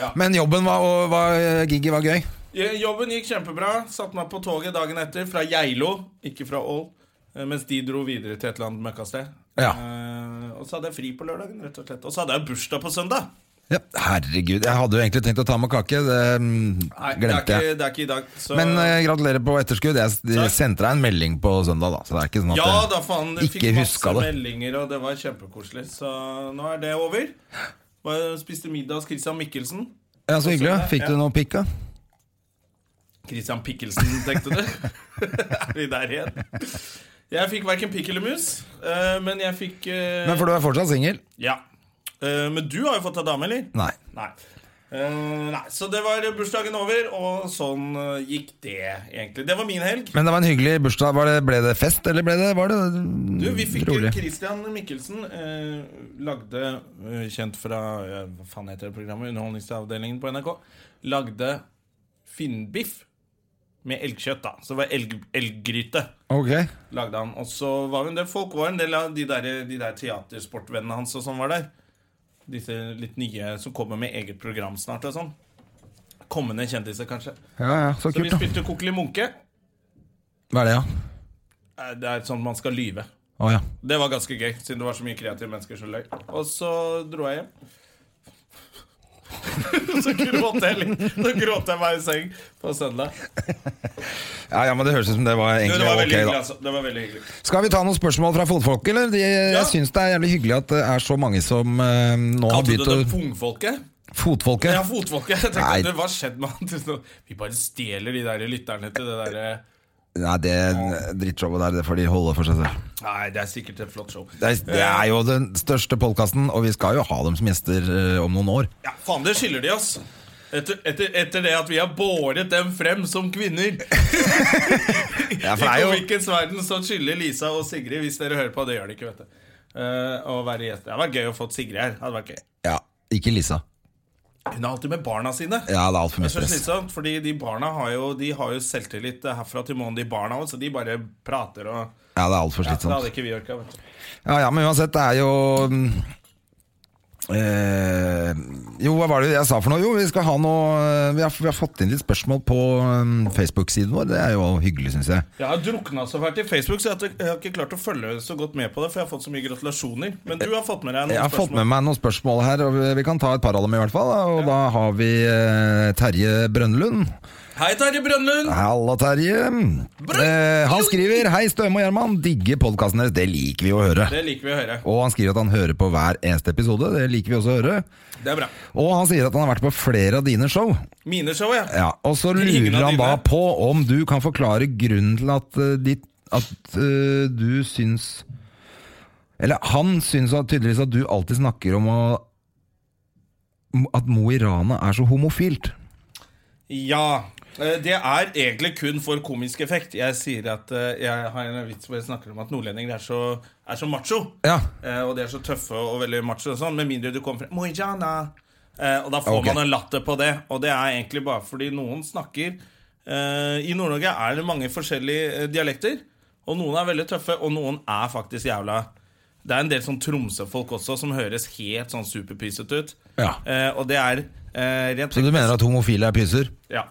[SPEAKER 1] Ja.
[SPEAKER 2] Men jobben var, og var, gigget var gøy.
[SPEAKER 1] Ja, Jobben gikk kjempebra. Satt meg på toget dagen etter fra Geilo, ikke fra Ål. eh, Mens de dro videre til et eller annet møkkasted.
[SPEAKER 2] Ja.
[SPEAKER 1] Eh, og så hadde jeg fri på lørdagen, rett og slett. Og så hadde jeg bursdag på søndag.
[SPEAKER 2] Ja, herregud, jeg hadde jo egentlig tenkt å ta med kake. Det mm,
[SPEAKER 1] Nei, det, er
[SPEAKER 2] glemte
[SPEAKER 1] ikke,
[SPEAKER 2] jeg.
[SPEAKER 1] det er ikke i dag. Så,
[SPEAKER 2] Men eh, gratulerer på etterskudd. Jeg de
[SPEAKER 1] Takk.
[SPEAKER 2] sendte deg en melding på søndag, da. Så det er ikke sånn at
[SPEAKER 1] ja
[SPEAKER 2] jeg
[SPEAKER 1] da, faen. Jeg
[SPEAKER 2] ikke
[SPEAKER 1] fikk masse
[SPEAKER 2] huska det.
[SPEAKER 1] meldinger, og det var kjempekoselig. Så nå er det over. Bare Spiste middag hos Christian Mikkelsen.
[SPEAKER 2] Ja, Så hyggelig.
[SPEAKER 1] søndag,
[SPEAKER 2] Fikk
[SPEAKER 1] ja.
[SPEAKER 2] du noe pikk, da?
[SPEAKER 1] Christian Pikkelsen, tenkte du? er vi der igjen? Jeg fikk verken pikk eller mus, eh, men jeg fikk eh,
[SPEAKER 2] Men for du er fortsatt singel?
[SPEAKER 1] Ja. Eh, men du har jo fått deg dame, eller?
[SPEAKER 2] Nei.
[SPEAKER 1] Nei. Eh, nei. Så det var bursdagen over, og sånn eh, gikk det, egentlig. Det var min helg.
[SPEAKER 2] Men det var en hyggelig bursdag. Var det, ble det fest, eller ble det, var det
[SPEAKER 1] Du, vi fikk
[SPEAKER 2] rolig?
[SPEAKER 1] Christian Mikkelsen eh, lagde eh, Kjent fra eh, Hva faen heter det programmet? Underholdningsavdelingen på NRK. Lagde finnbiff med elgkjøtt, da. Så det var elg, elggryte.
[SPEAKER 2] Ok.
[SPEAKER 1] Lagde han. Og så var vi en del folk, var en del av de der, de der teatersportvennene hans og sånn var der. Disse litt nye som kommer med eget program snart og sånn. Kommende kjendiser, kanskje.
[SPEAKER 2] Ja, ja, så
[SPEAKER 1] Så vi
[SPEAKER 2] kult, da.
[SPEAKER 1] spilte Kokkeli Munke.
[SPEAKER 2] Hva er det, ja?
[SPEAKER 1] Eh, Det er sånn man skal lyve.
[SPEAKER 2] Å ja.
[SPEAKER 1] Det var ganske gøy, siden det var så mye kreative mennesker som løy. Og så dro jeg hjem. så gråt jeg litt. Så gråt jeg meg i seng på søndag.
[SPEAKER 2] ja. Ja, men det høres ut som det var
[SPEAKER 1] Jo,
[SPEAKER 2] egentlig
[SPEAKER 1] det var veldig
[SPEAKER 2] ok, da.
[SPEAKER 1] hyggelig, altså. Det var veldig hyggelig.
[SPEAKER 2] Skal vi ta noen spørsmål fra fotfolk, eller? De,
[SPEAKER 1] Ja.
[SPEAKER 2] Jeg syns det er jævlig hyggelig at det er så mange som eh, nå har
[SPEAKER 1] Kalte du
[SPEAKER 2] begynt å
[SPEAKER 1] det pungfolket?
[SPEAKER 2] Fotfolket.
[SPEAKER 1] Ja, fotfolket. Jeg
[SPEAKER 2] Nei.
[SPEAKER 1] tenkte, du, hva skjedde med han? til sånn- Vi bare stjeler de der eh, lytterne til det derre
[SPEAKER 2] Nei, det drittshowet der, det får de holde for seg selv.
[SPEAKER 1] Nei, det er sikkert et flott show. Eh,
[SPEAKER 2] Det er, det er jo den største podkasten, og vi skal jo ha dem som gjester eh, om noen år.
[SPEAKER 1] Ja, faen, det skylder de oss. Etter, etter, etter det at vi har båret dem frem som kvinner.
[SPEAKER 2] Ja, for
[SPEAKER 1] I
[SPEAKER 2] det er jo
[SPEAKER 1] komikkens verden så skylder Lisa og Sigrid, hvis dere hører på. Det gjør de ikke, vet du. Eh, å være gjest. Det hadde vært gøy å få Sigrid her. Det Hadde vært gøy.
[SPEAKER 2] ja, Ikke Lisa.
[SPEAKER 1] Hun er alltid med barna sine.
[SPEAKER 2] Ja, det er altfor mye
[SPEAKER 1] Så
[SPEAKER 2] stress.
[SPEAKER 1] slitsomt, fordi de barna har jo, de har jo selvtillit herfra til månen, de barna òg, så de bare prater og
[SPEAKER 2] Ja, det er alt for
[SPEAKER 1] ja, Det hadde
[SPEAKER 2] slitsomt.
[SPEAKER 1] ikke vi orka, vet du.
[SPEAKER 2] Ja, ja, men uansett, det er jo mm, eh, jo, hva var det jeg sa for noe? Jo, vi skal ha noe eh, Vi har, vi har fått inn litt spørsmål på eh, Facebook-siden vår. Det er jo hyggelig, syns jeg.
[SPEAKER 1] Jeg har drukna så fælt i Facebook, så jeg har ikke- jeg har ikke klart å følge så godt med på det, for jeg har fått så mye gratulasjoner. Men du har fått med deg noen
[SPEAKER 2] Jeg har fått med
[SPEAKER 1] spørsmål.
[SPEAKER 2] meg noen spørsmål her, og vi- vi kan ta et par av dem i hvert fall. da. Og da har vi eh, Terje Brønnlund.
[SPEAKER 1] Hei, Terje Brønnlund!
[SPEAKER 2] Halla, Terje. Eh, han skriver Hei, Støme og Gjerman. Digger podkasten deres. Det liker vi å høre.
[SPEAKER 1] Det liker vi å høre.
[SPEAKER 2] Og han skriver at han hører på hver eneste episode. Det liker vi også å høre.
[SPEAKER 1] Det er bra.
[SPEAKER 2] Og han sier at han har vært på flere av dine show.
[SPEAKER 1] Mine show, ja.
[SPEAKER 2] Ja, og så
[SPEAKER 1] Ingen
[SPEAKER 2] lurer
[SPEAKER 1] av
[SPEAKER 2] han
[SPEAKER 1] dine.
[SPEAKER 2] da på om du kan forklare grunnen til at, eh, ditt, at eh, du syns Eller han syns at- tydeligvis at du alltid snakker om å, at Mo i Rana er så homofilt.
[SPEAKER 1] Ja. eh, Det er egentlig kun for komisk effekt. Jeg sier at eh, jeg har en vits hvor jeg snakker om at nordlendinger er så, er så macho.
[SPEAKER 2] Ja.
[SPEAKER 1] Eh, Og de er så tøffe og veldig macho og sånn, med mindre du kommer fra Mojana. Eh, Og da får
[SPEAKER 2] Ok.
[SPEAKER 1] man en latter på det. Og det er egentlig bare fordi noen snakker eh, I Nord-Norge er det mange forskjellige eh, dialekter. Og noen er veldig tøffe, og noen er faktisk jævla Det er en del sånn Tromsø-folk også som høres helt sånn superpysete ut.
[SPEAKER 2] Ja.
[SPEAKER 1] Eh, Og det er eh, rent
[SPEAKER 2] Så du mener at homofile er pyser?
[SPEAKER 1] ja.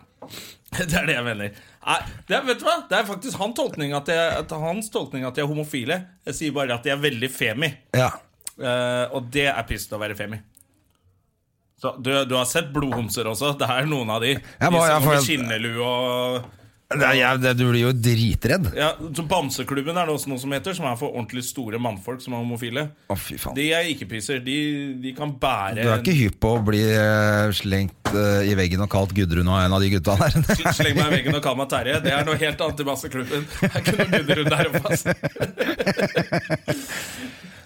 [SPEAKER 1] Det er det jeg mener. Nei, det, er- vet du hva? det er faktisk han tolkning at jeg, at hans tolkning at de er homofile. Jeg sier bare at de er veldig femi.
[SPEAKER 2] Ja.
[SPEAKER 1] Eh, og det er pissen å være femi. Så, du, du har sett blodhomser også. Det er noen av de.
[SPEAKER 2] Jeg må-
[SPEAKER 1] de som
[SPEAKER 2] jeg får-
[SPEAKER 1] går med skinnelue og
[SPEAKER 2] Det er, jeg, det, du blir jo dritredd.
[SPEAKER 1] ja, så Bamseklubben er det også noe som heter, som er for ordentlig store mannfolk som er homofile.
[SPEAKER 2] Å, fy faen.
[SPEAKER 1] De er ikke-pisser. De, de kan
[SPEAKER 2] Du
[SPEAKER 1] bære
[SPEAKER 2] er ikke hypp på å bli eh, slengt eh, i veggen og kalt Gudrun av en av de gutta der?
[SPEAKER 1] Sl- Sleng meg i veggen og kall meg Terje. Det er noe helt annet i Basseklubben. Det er ikke noe Gudrun der oppe, ass.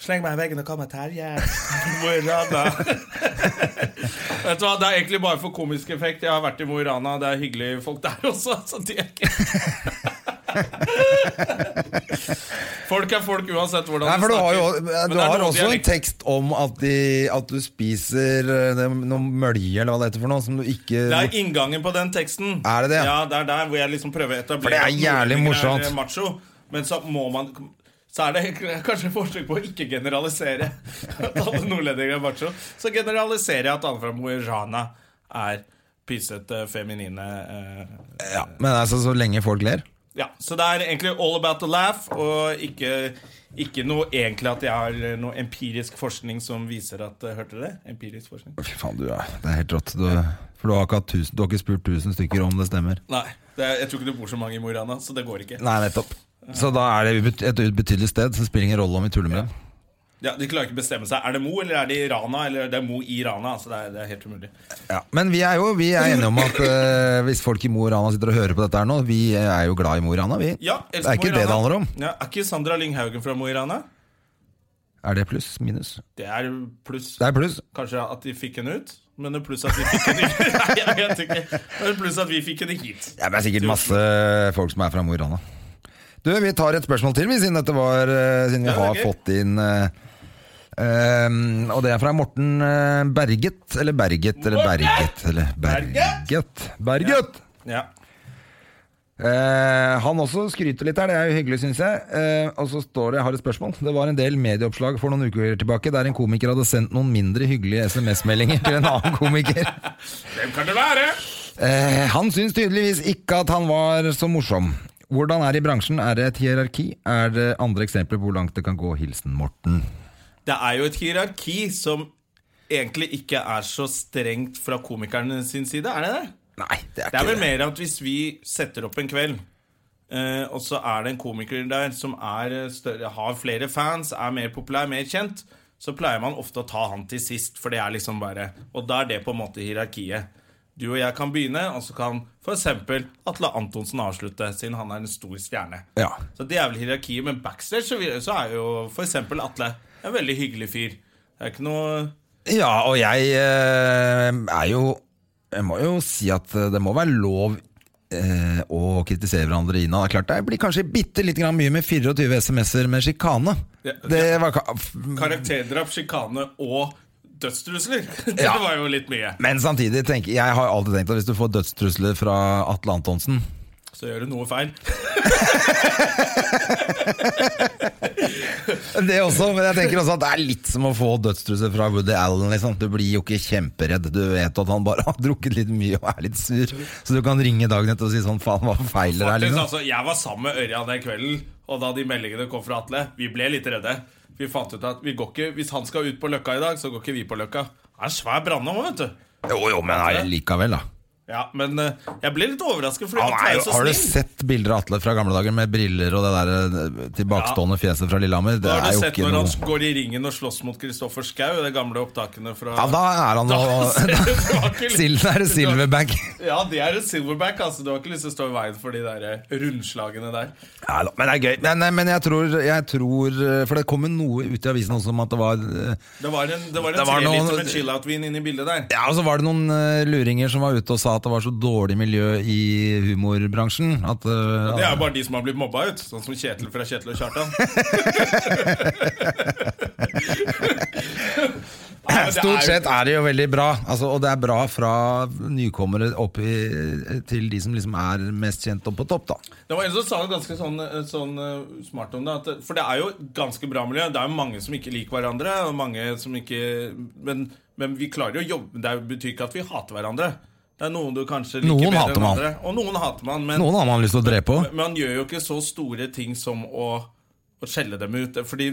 [SPEAKER 1] Sleng meg i veggen og kall meg Terje. Mo i Rana. Vet du hva, Det er egentlig bare for komisk effekt. Jeg har vært i Mo i Rana, det er hyggelige folk der også. Så de er ikke Folk er folk uansett hvordan
[SPEAKER 2] Nei, for du har jo
[SPEAKER 1] Men
[SPEAKER 2] du
[SPEAKER 1] det er
[SPEAKER 2] har
[SPEAKER 1] noen
[SPEAKER 2] også en
[SPEAKER 1] dialekter.
[SPEAKER 2] tekst om at, de, at du spiser eh, det- noe mølje eller hva det heter for noe, som du ikke
[SPEAKER 1] Det er inngangen på den teksten.
[SPEAKER 2] Er det det?
[SPEAKER 1] Ja, det er der hvor jeg liksom prøver å etablere
[SPEAKER 2] For det er
[SPEAKER 1] at
[SPEAKER 2] jævlig
[SPEAKER 1] nordlendinger
[SPEAKER 2] morsomt.
[SPEAKER 1] er macho, men så må man så er det kanskje et forsøk på å ikke generalisere at alle nordlendinger er macho. Så generaliserer jeg at alle fra Mo i Rana er pysete, feminine eh,
[SPEAKER 2] Ja, Men altså, så lenge folk ler.
[SPEAKER 1] Ja, Så det er egentlig all about the laugh, og ikke, ikke noe egentlig at jeg har noe empirisk forskning som viser at eh, Hørte dere det? Empirisk forskning.
[SPEAKER 2] Fy faen, du er Det er helt rått. Du, for du har, ikke hatt tusen, du har ikke spurt tusen stykker om det stemmer.
[SPEAKER 1] Nei, det er, jeg tror ikke det bor så mange i Mo i Rana, så det går ikke.
[SPEAKER 2] Nei, nettopp. Så da er det ubet- et ubetydelig sted, så det spiller ingen rolle om vi tuller med det.
[SPEAKER 1] Ja, De klarer ikke å bestemme seg. Er det Mo eller er det i Rana? Eller det er Mo i Rana, altså det er, det er helt umulig.
[SPEAKER 2] Ja. Men vi er jo vi er enige om at eh, hvis folk i Mo i Rana sitter og hører på dette her nå, vi er jo glad i Mo i Rana, vi.
[SPEAKER 1] Ja,
[SPEAKER 2] det
[SPEAKER 1] elsker
[SPEAKER 2] er
[SPEAKER 1] Mo
[SPEAKER 2] ikke
[SPEAKER 1] i
[SPEAKER 2] det det
[SPEAKER 1] Rana.
[SPEAKER 2] handler om.
[SPEAKER 1] Ja, er ikke Sandra Lyng Haugen fra Mo i Rana?
[SPEAKER 2] Er det pluss? Minus?
[SPEAKER 1] Det er pluss
[SPEAKER 2] Det er pluss.
[SPEAKER 1] kanskje at de fikk henne ut, men det er pluss at vi fikk henne ikke. Nei, jeg vet ikke. Men det er pluss at vi fikk henne hit.
[SPEAKER 2] Ja, men Det er sikkert masse folk som er fra Mo i Rana. Du, vi tar et spørsmål til, vi, siden, dette var, eh, siden vi
[SPEAKER 1] Ja, det er
[SPEAKER 2] har
[SPEAKER 1] gøy.
[SPEAKER 2] fått inn eh, ehm, og det er fra Morten eh, Berget, eller Berget, eller Berget, eller Berget. Berget!
[SPEAKER 1] Ja.
[SPEAKER 2] Eh, han også skryter litt her, det er jo hyggelig, syns jeg. Eh, og så står det, jeg har et spørsmål. Det var en del medieoppslag for noen uker tilbake der en komiker hadde sendt noen mindre hyggelige SMS-meldinger til en annen komiker.
[SPEAKER 1] Hvem kan det være?
[SPEAKER 2] Eh, han syns tydeligvis ikke at han var så morsom. Hvordan er det i bransjen? Er det et hierarki? Er det andre eksempler på hvor langt det kan gå? Hilsen Morten.
[SPEAKER 1] Det er jo et hierarki som egentlig ikke er så strengt fra komikerne sin side, er det det?
[SPEAKER 2] Nei, det er
[SPEAKER 1] Det er
[SPEAKER 2] ikke
[SPEAKER 1] vel mer at hvis vi setter opp en kveld eh, Og så er det en komiker der som er eh, større, har flere fans Er mer populær, mer kjent Så pleier man ofte å ta han til sist For det er liksom bare Og da er det på en måte hierarkiet Du og jeg kan begynne Og så kan for eksempel Atle Antonsen avslutte Siden han er en stor stjerne
[SPEAKER 2] Ja.
[SPEAKER 1] Så det er vel hierarkiet Men backstage så, vi, så er jo for eksempel Atle En veldig hyggelig fyr Det er ikke noe
[SPEAKER 2] Ja, og jeg eh, er jo Jeg må jo si at eh, det må være lov eh, å kritisere hverandre innad. Det er klart det blir kanskje bitte litt grann mye med 24 SMS-er med sjikane.
[SPEAKER 1] Ja,
[SPEAKER 2] Det var ka- f-
[SPEAKER 1] karakterdrap, skikane og dødstrusler Det
[SPEAKER 2] Ja.
[SPEAKER 1] var jo litt mye
[SPEAKER 2] Men samtidig, tenker, jeg har alltid tenkt at hvis du får dødstrusler fra Atle Antonsen
[SPEAKER 1] Så gjør du noe feil
[SPEAKER 2] Det også, men jeg tenker også at det er litt som å få dødstrusler fra Woody Allen. Liksom. Du blir jo ikke kjemperedd. Du vet at han bare har drukket litt mye og er litt sur. Så du kan ringe dagen etter og si sånn faen, hva feiler det her?
[SPEAKER 1] Faktisk,
[SPEAKER 2] Liksom.
[SPEAKER 1] altså, jeg var sammen med Ørjan den kvelden, og da de meldingene kom fra Atle, vi ble litt redde. Vi fant ut at vi går ikke, hvis han skal ut på Løkka i dag, så går ikke vi på Løkka. Det er en svær brandom, vet du.
[SPEAKER 2] Jo, jo, men nei, likevel, da.
[SPEAKER 1] Ja, men eh, jeg ble litt overrasket, fordi
[SPEAKER 2] Han
[SPEAKER 1] Atle
[SPEAKER 2] er
[SPEAKER 1] er
[SPEAKER 2] jo,
[SPEAKER 1] jo så
[SPEAKER 2] har du
[SPEAKER 1] snill.
[SPEAKER 2] sett bilder av Atle fra gamle dager med briller og det der eh, tilbakestående fjeset fra Lillehammer? Det
[SPEAKER 1] Har
[SPEAKER 2] er
[SPEAKER 1] du
[SPEAKER 2] jo
[SPEAKER 1] sett
[SPEAKER 2] ikke
[SPEAKER 1] når
[SPEAKER 2] noe
[SPEAKER 1] han går i ringen og slåss mot Kristoffer Schau i de gamle opptakene fra
[SPEAKER 2] Ja, da er han
[SPEAKER 1] ser
[SPEAKER 2] noe
[SPEAKER 1] du- du har ikke lyst-
[SPEAKER 2] Sil- Da er det silverback.
[SPEAKER 1] Ja, det er en silverback, altså. Du har ikke lyst til å stå i veien for de der eh, rundslagene der.
[SPEAKER 2] Ja, da, men det er gøy. Men, eh, men jeg, tror, jeg tror For det kom jo noe ut i avisen også om at det var eh,
[SPEAKER 1] Det var en, det var en
[SPEAKER 2] Det var
[SPEAKER 1] 3
[SPEAKER 2] noen-
[SPEAKER 1] liter med chill-out-vin inne i bildet der.
[SPEAKER 2] Ja, og så var det noen eh, luringer som var ute og sa at det var så dårlig miljø i humorbransjen. At, eh,
[SPEAKER 1] Det er jo bare de som har blitt mobba ut, sånn som Kjetil fra Kjetil og Kjartan. Nei, men det er
[SPEAKER 2] Stort
[SPEAKER 1] jo-
[SPEAKER 2] sett er det jo veldig bra, altså, og det er bra fra nykommere opp i, til de som liksom er mest kjent og på topp, da.
[SPEAKER 1] Det var en som sa det ganske sånn, sånn eh, smart om det. At, for det er jo et ganske bra miljø. Det er jo mange som ikke liker hverandre. Og mange som ikke, men, men vi klarer jo å jobbe Det betyr ikke at vi hater hverandre. Det er noen du kanskje liker
[SPEAKER 2] Noen
[SPEAKER 1] bedre
[SPEAKER 2] hater
[SPEAKER 1] enn
[SPEAKER 2] man.
[SPEAKER 1] andre. Og noen hater man, men
[SPEAKER 2] Noen har man lyst til å drepe òg.
[SPEAKER 1] Men men han gjør jo ikke så store ting som å, å skjelle dem ut. Fordi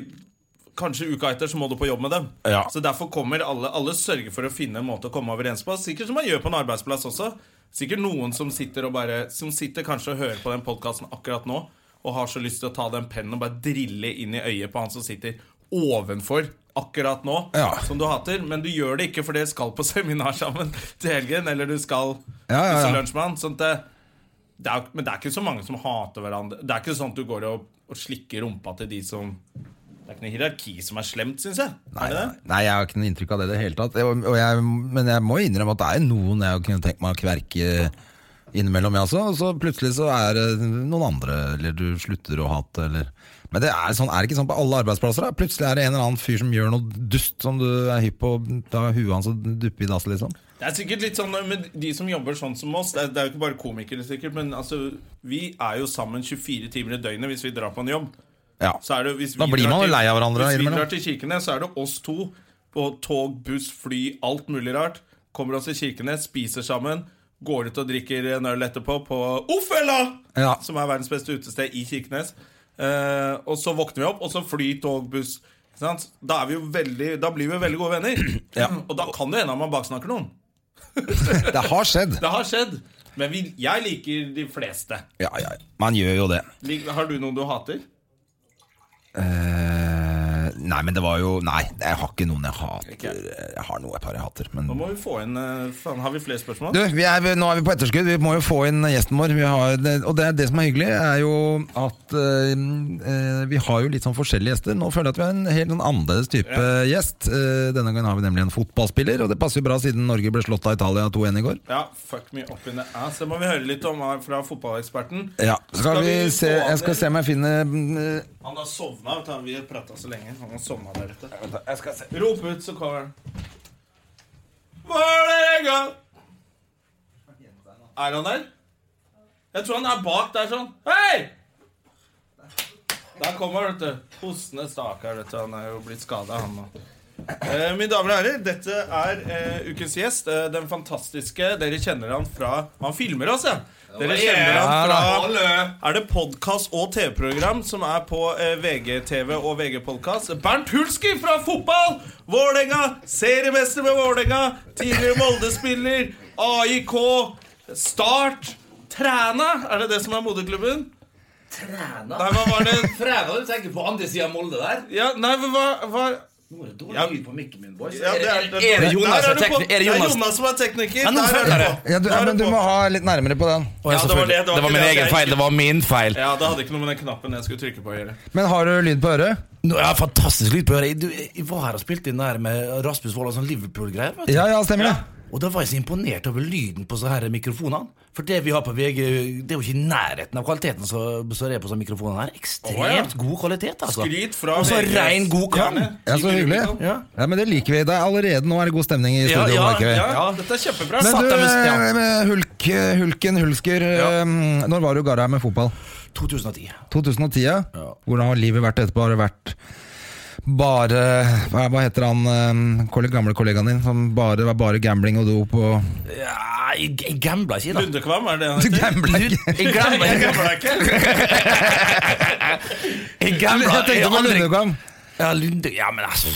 [SPEAKER 1] kanskje uka etter så må du på jobb med dem.
[SPEAKER 2] Ja.
[SPEAKER 1] Så derfor kommer alle Alle sørger for å finne en måte å komme overens på. Sikkert som man gjør på en arbeidsplass også. Sikkert noen som sitter og bare Som sitter kanskje og hører på den podkasten akkurat nå og har så lyst til å ta den pennen og bare drille inn i øyet på han som sitter ovenfor akkurat nå,
[SPEAKER 2] Ja.
[SPEAKER 1] som du hater. Men du gjør det ikke, for dere skal på seminar sammen til helgen. Eller du skal
[SPEAKER 2] Ja, ja, ja.
[SPEAKER 1] spise lunsj med han. Sånn at det, det er, men det er ikke så mange som hater hverandre. Det er ikke sånn at du går og, og slikker rumpa til de som Det er ikke noe hierarki som er slemt, syns jeg.
[SPEAKER 2] Nei,
[SPEAKER 1] er det
[SPEAKER 2] nei,
[SPEAKER 1] det?
[SPEAKER 2] nei, jeg har ikke noe inntrykk av det i det hele tatt. Jeg- Og jeg, men jeg må innrømme at det er noen jeg kunne tenkt meg å kverke innimellom, jeg også. Og så plutselig så er det noen andre, eller du slutter å hate, eller Men det er, sånn, er det ikke sånn på alle arbeidsplasser? Da? Plutselig er det en eller annen fyr som gjør noe dust som du er hypp på. Da er huet hans og duppe i dass, liksom.
[SPEAKER 1] Det er sikkert litt sånn med de som jobber sånn som oss. Det er, det er jo ikke bare komikere, sikkert, men altså, vi er jo sammen 24 timer i døgnet hvis vi drar på en jobb.
[SPEAKER 2] Ja.
[SPEAKER 1] Så er det, hvis vi
[SPEAKER 2] Da blir
[SPEAKER 1] drar
[SPEAKER 2] man jo
[SPEAKER 1] til-
[SPEAKER 2] lei av hverandre
[SPEAKER 1] Hvis vi
[SPEAKER 2] innimellom.
[SPEAKER 1] drar til Kirkenes, så er det oss to på tog, buss, fly, alt mulig rart. Kommer oss til Kirkenes, spiser sammen, går ut og drikker en øl etterpå på Ofella!
[SPEAKER 2] Ja.
[SPEAKER 1] som er verdens beste utested i Kirkenes. Eh, og så våkner vi opp, og så fly, tog, buss. Ikke sant? Da, er vi jo veldig, da blir vi jo veldig gode venner. Og da kan det hende at man baksnakker noen.
[SPEAKER 2] Det har skjedd.
[SPEAKER 1] Det har skjedd. Men vi, jeg liker de fleste.
[SPEAKER 2] Ja, ja. Man gjør jo det.
[SPEAKER 1] Lik, har du noen du hater?
[SPEAKER 2] Eh, nei, men det var jo Nei, jeg har ikke noen jeg hater. Jeg har noe et par jeg hater, men
[SPEAKER 1] Nå må vi få inn eh, faen, Har vi flere spørsmål?
[SPEAKER 2] Du, vi er, nå er vi på etterskudd. Vi må jo få inn gjesten vår. Vi har, det- og det, er det som er hyggelig, er jo at eh, eh, vi har jo litt sånn forskjellige gjester. Nå føler jeg at vi har en helt sånn annerledes type gjest. Eh, denne gangen har vi nemlig en fotballspiller, og det passer jo bra siden Norge ble slått av Italia 2-1 i går.
[SPEAKER 1] Ja, fuck me up in the ass. Det må vi høre litt om her fra fotballeksperten.
[SPEAKER 2] Ja, skal
[SPEAKER 1] Skal
[SPEAKER 2] vi
[SPEAKER 1] vi
[SPEAKER 2] se,
[SPEAKER 1] gå
[SPEAKER 2] jeg skal
[SPEAKER 1] over?
[SPEAKER 2] se om jeg finner eh,
[SPEAKER 1] Han har sovna. vet du. Vi har prata så lenge. Han har sovna der ute. Rop ut, så kommer han. Vålerenga! Er han der? Jeg tror han er bak der sånn. Hei! Der kommer han, vet du. Hostende stakkar. vet du. Han er jo blitt skada, han nå. Eh, mine damer og herrer, dette er eh, ukens gjest. Eh, den fantastiske Dere kjenner han fra Han filmer oss, ja. Dere kjenner
[SPEAKER 2] Ja, da.
[SPEAKER 1] han fra er det podkast og TV-program som er på eh, VGTV og VG-podkast? Bernt Hulski fra fotball! Vålerenga! Seriemester med Vålerenga! Tidligere Molde-spiller! AIK! Start! Træna! Er det det som er moderklubben? Træna? Nei, hva var det?
[SPEAKER 3] Træna du tenker på andre siden av Molde der?
[SPEAKER 1] Ja, nei, men hva, hva
[SPEAKER 3] Nå er det dårlig
[SPEAKER 1] Ja.
[SPEAKER 3] lyd på mikken min, boys.
[SPEAKER 1] ja, det er,
[SPEAKER 3] er det Jonas
[SPEAKER 1] der
[SPEAKER 3] som
[SPEAKER 1] du
[SPEAKER 3] er
[SPEAKER 1] på-
[SPEAKER 3] tekni- er det
[SPEAKER 1] det er
[SPEAKER 3] Jonas?
[SPEAKER 1] Jonas som er tekniker.
[SPEAKER 3] Ja, nå
[SPEAKER 1] Der er
[SPEAKER 3] følger jeg.
[SPEAKER 1] på.
[SPEAKER 2] ja, du,
[SPEAKER 1] Der
[SPEAKER 2] ja,
[SPEAKER 1] er
[SPEAKER 2] men Du
[SPEAKER 1] på.
[SPEAKER 2] må ha litt nærmere på den.
[SPEAKER 1] Ja, det var det.
[SPEAKER 3] Det var
[SPEAKER 1] ikke
[SPEAKER 3] min
[SPEAKER 1] det
[SPEAKER 3] egen
[SPEAKER 1] jeg-
[SPEAKER 3] feil. Det var min feil.
[SPEAKER 1] Ja, Det hadde ikke noe med den knappen jeg skulle trykke på å gjøre.
[SPEAKER 2] Men har du lyd på øret?
[SPEAKER 3] Nå, ja, fantastisk lyd på øret. Du, Jeg var her og spilte inn der med Rasmus Wold og sånn Liverpool-greier. vet du.
[SPEAKER 2] Ja, ja, stemmer det.
[SPEAKER 3] Og da var jeg så imponert over lyden på sånne her mikrofonene. For det vi har på VG, det er jo ikke i nærheten av kvaliteten som som er på sånne mikrofoner her. Ekstremt
[SPEAKER 1] Å, ja.
[SPEAKER 3] god kvalitet, altså.
[SPEAKER 1] Skryt fra
[SPEAKER 3] Og så
[SPEAKER 1] VGs
[SPEAKER 3] rein god kam.
[SPEAKER 1] stjerne.
[SPEAKER 2] Ja, Så hyggelig.
[SPEAKER 3] Ja.
[SPEAKER 2] Ja, men Det liker vi. Det er allerede nå er det god stemning i
[SPEAKER 3] Ja,
[SPEAKER 2] studio.
[SPEAKER 3] ja,
[SPEAKER 2] merker vi.
[SPEAKER 1] Ja, dette er
[SPEAKER 2] Men
[SPEAKER 1] kjempebra.
[SPEAKER 3] Satt
[SPEAKER 2] du, eh,
[SPEAKER 3] deg med- ja.
[SPEAKER 2] med hulk, Hulken Hulsker, eh, når var du i Garheim med fotball?
[SPEAKER 3] 2010.
[SPEAKER 2] 2010, ja. Hvordan har livet vært etterpå? Har det vært bare Hva hva heter han eh, kolle- gamle kollegaen din som bare det var bare gambling og dop og
[SPEAKER 3] Ja, jeg, jeg gambla ikke, da.
[SPEAKER 1] Lundekvam, er det det han heter?
[SPEAKER 2] Gambling!
[SPEAKER 3] Jeg gambla
[SPEAKER 1] Jeg
[SPEAKER 3] ikke.
[SPEAKER 1] gambler ikke.
[SPEAKER 3] Jeg gambla
[SPEAKER 2] Jeg
[SPEAKER 3] jeg
[SPEAKER 2] tenkte på
[SPEAKER 3] aldri-
[SPEAKER 2] Lundekvam.
[SPEAKER 3] Ja, Lunde, ja, men altså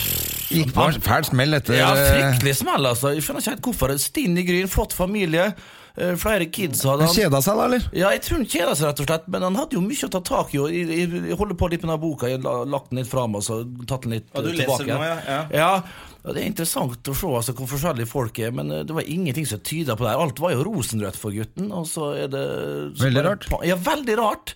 [SPEAKER 2] Gikk på en fæl smell etter
[SPEAKER 3] Ja,
[SPEAKER 2] eh,
[SPEAKER 3] fryktelig smell, altså. Jeg skjønner ikke helt hvorfor. Stinn i gryn, flott familie. eh, Flere kids hadde han.
[SPEAKER 2] Kjeda seg, da, eller?
[SPEAKER 3] Ja, jeg tror han kjeder seg, rett og slett. Men han hadde jo mye å ta tak i. Og jeg, jeg, jeg holder på litt med denne boka. Jeg har lagt den litt fram og så tatt den litt
[SPEAKER 1] Ja, du
[SPEAKER 3] eh,
[SPEAKER 1] leser den
[SPEAKER 3] tilbake.
[SPEAKER 1] nå, ja, ja.
[SPEAKER 3] ja, Det er interessant å se altså, hvor forskjellige folk er, men eh, det var ingenting som tyda på det. her. Alt var jo rosenrødt for gutten. Og så er det så
[SPEAKER 2] Veldig
[SPEAKER 3] bare-
[SPEAKER 2] rart.
[SPEAKER 3] Ja, veldig rart.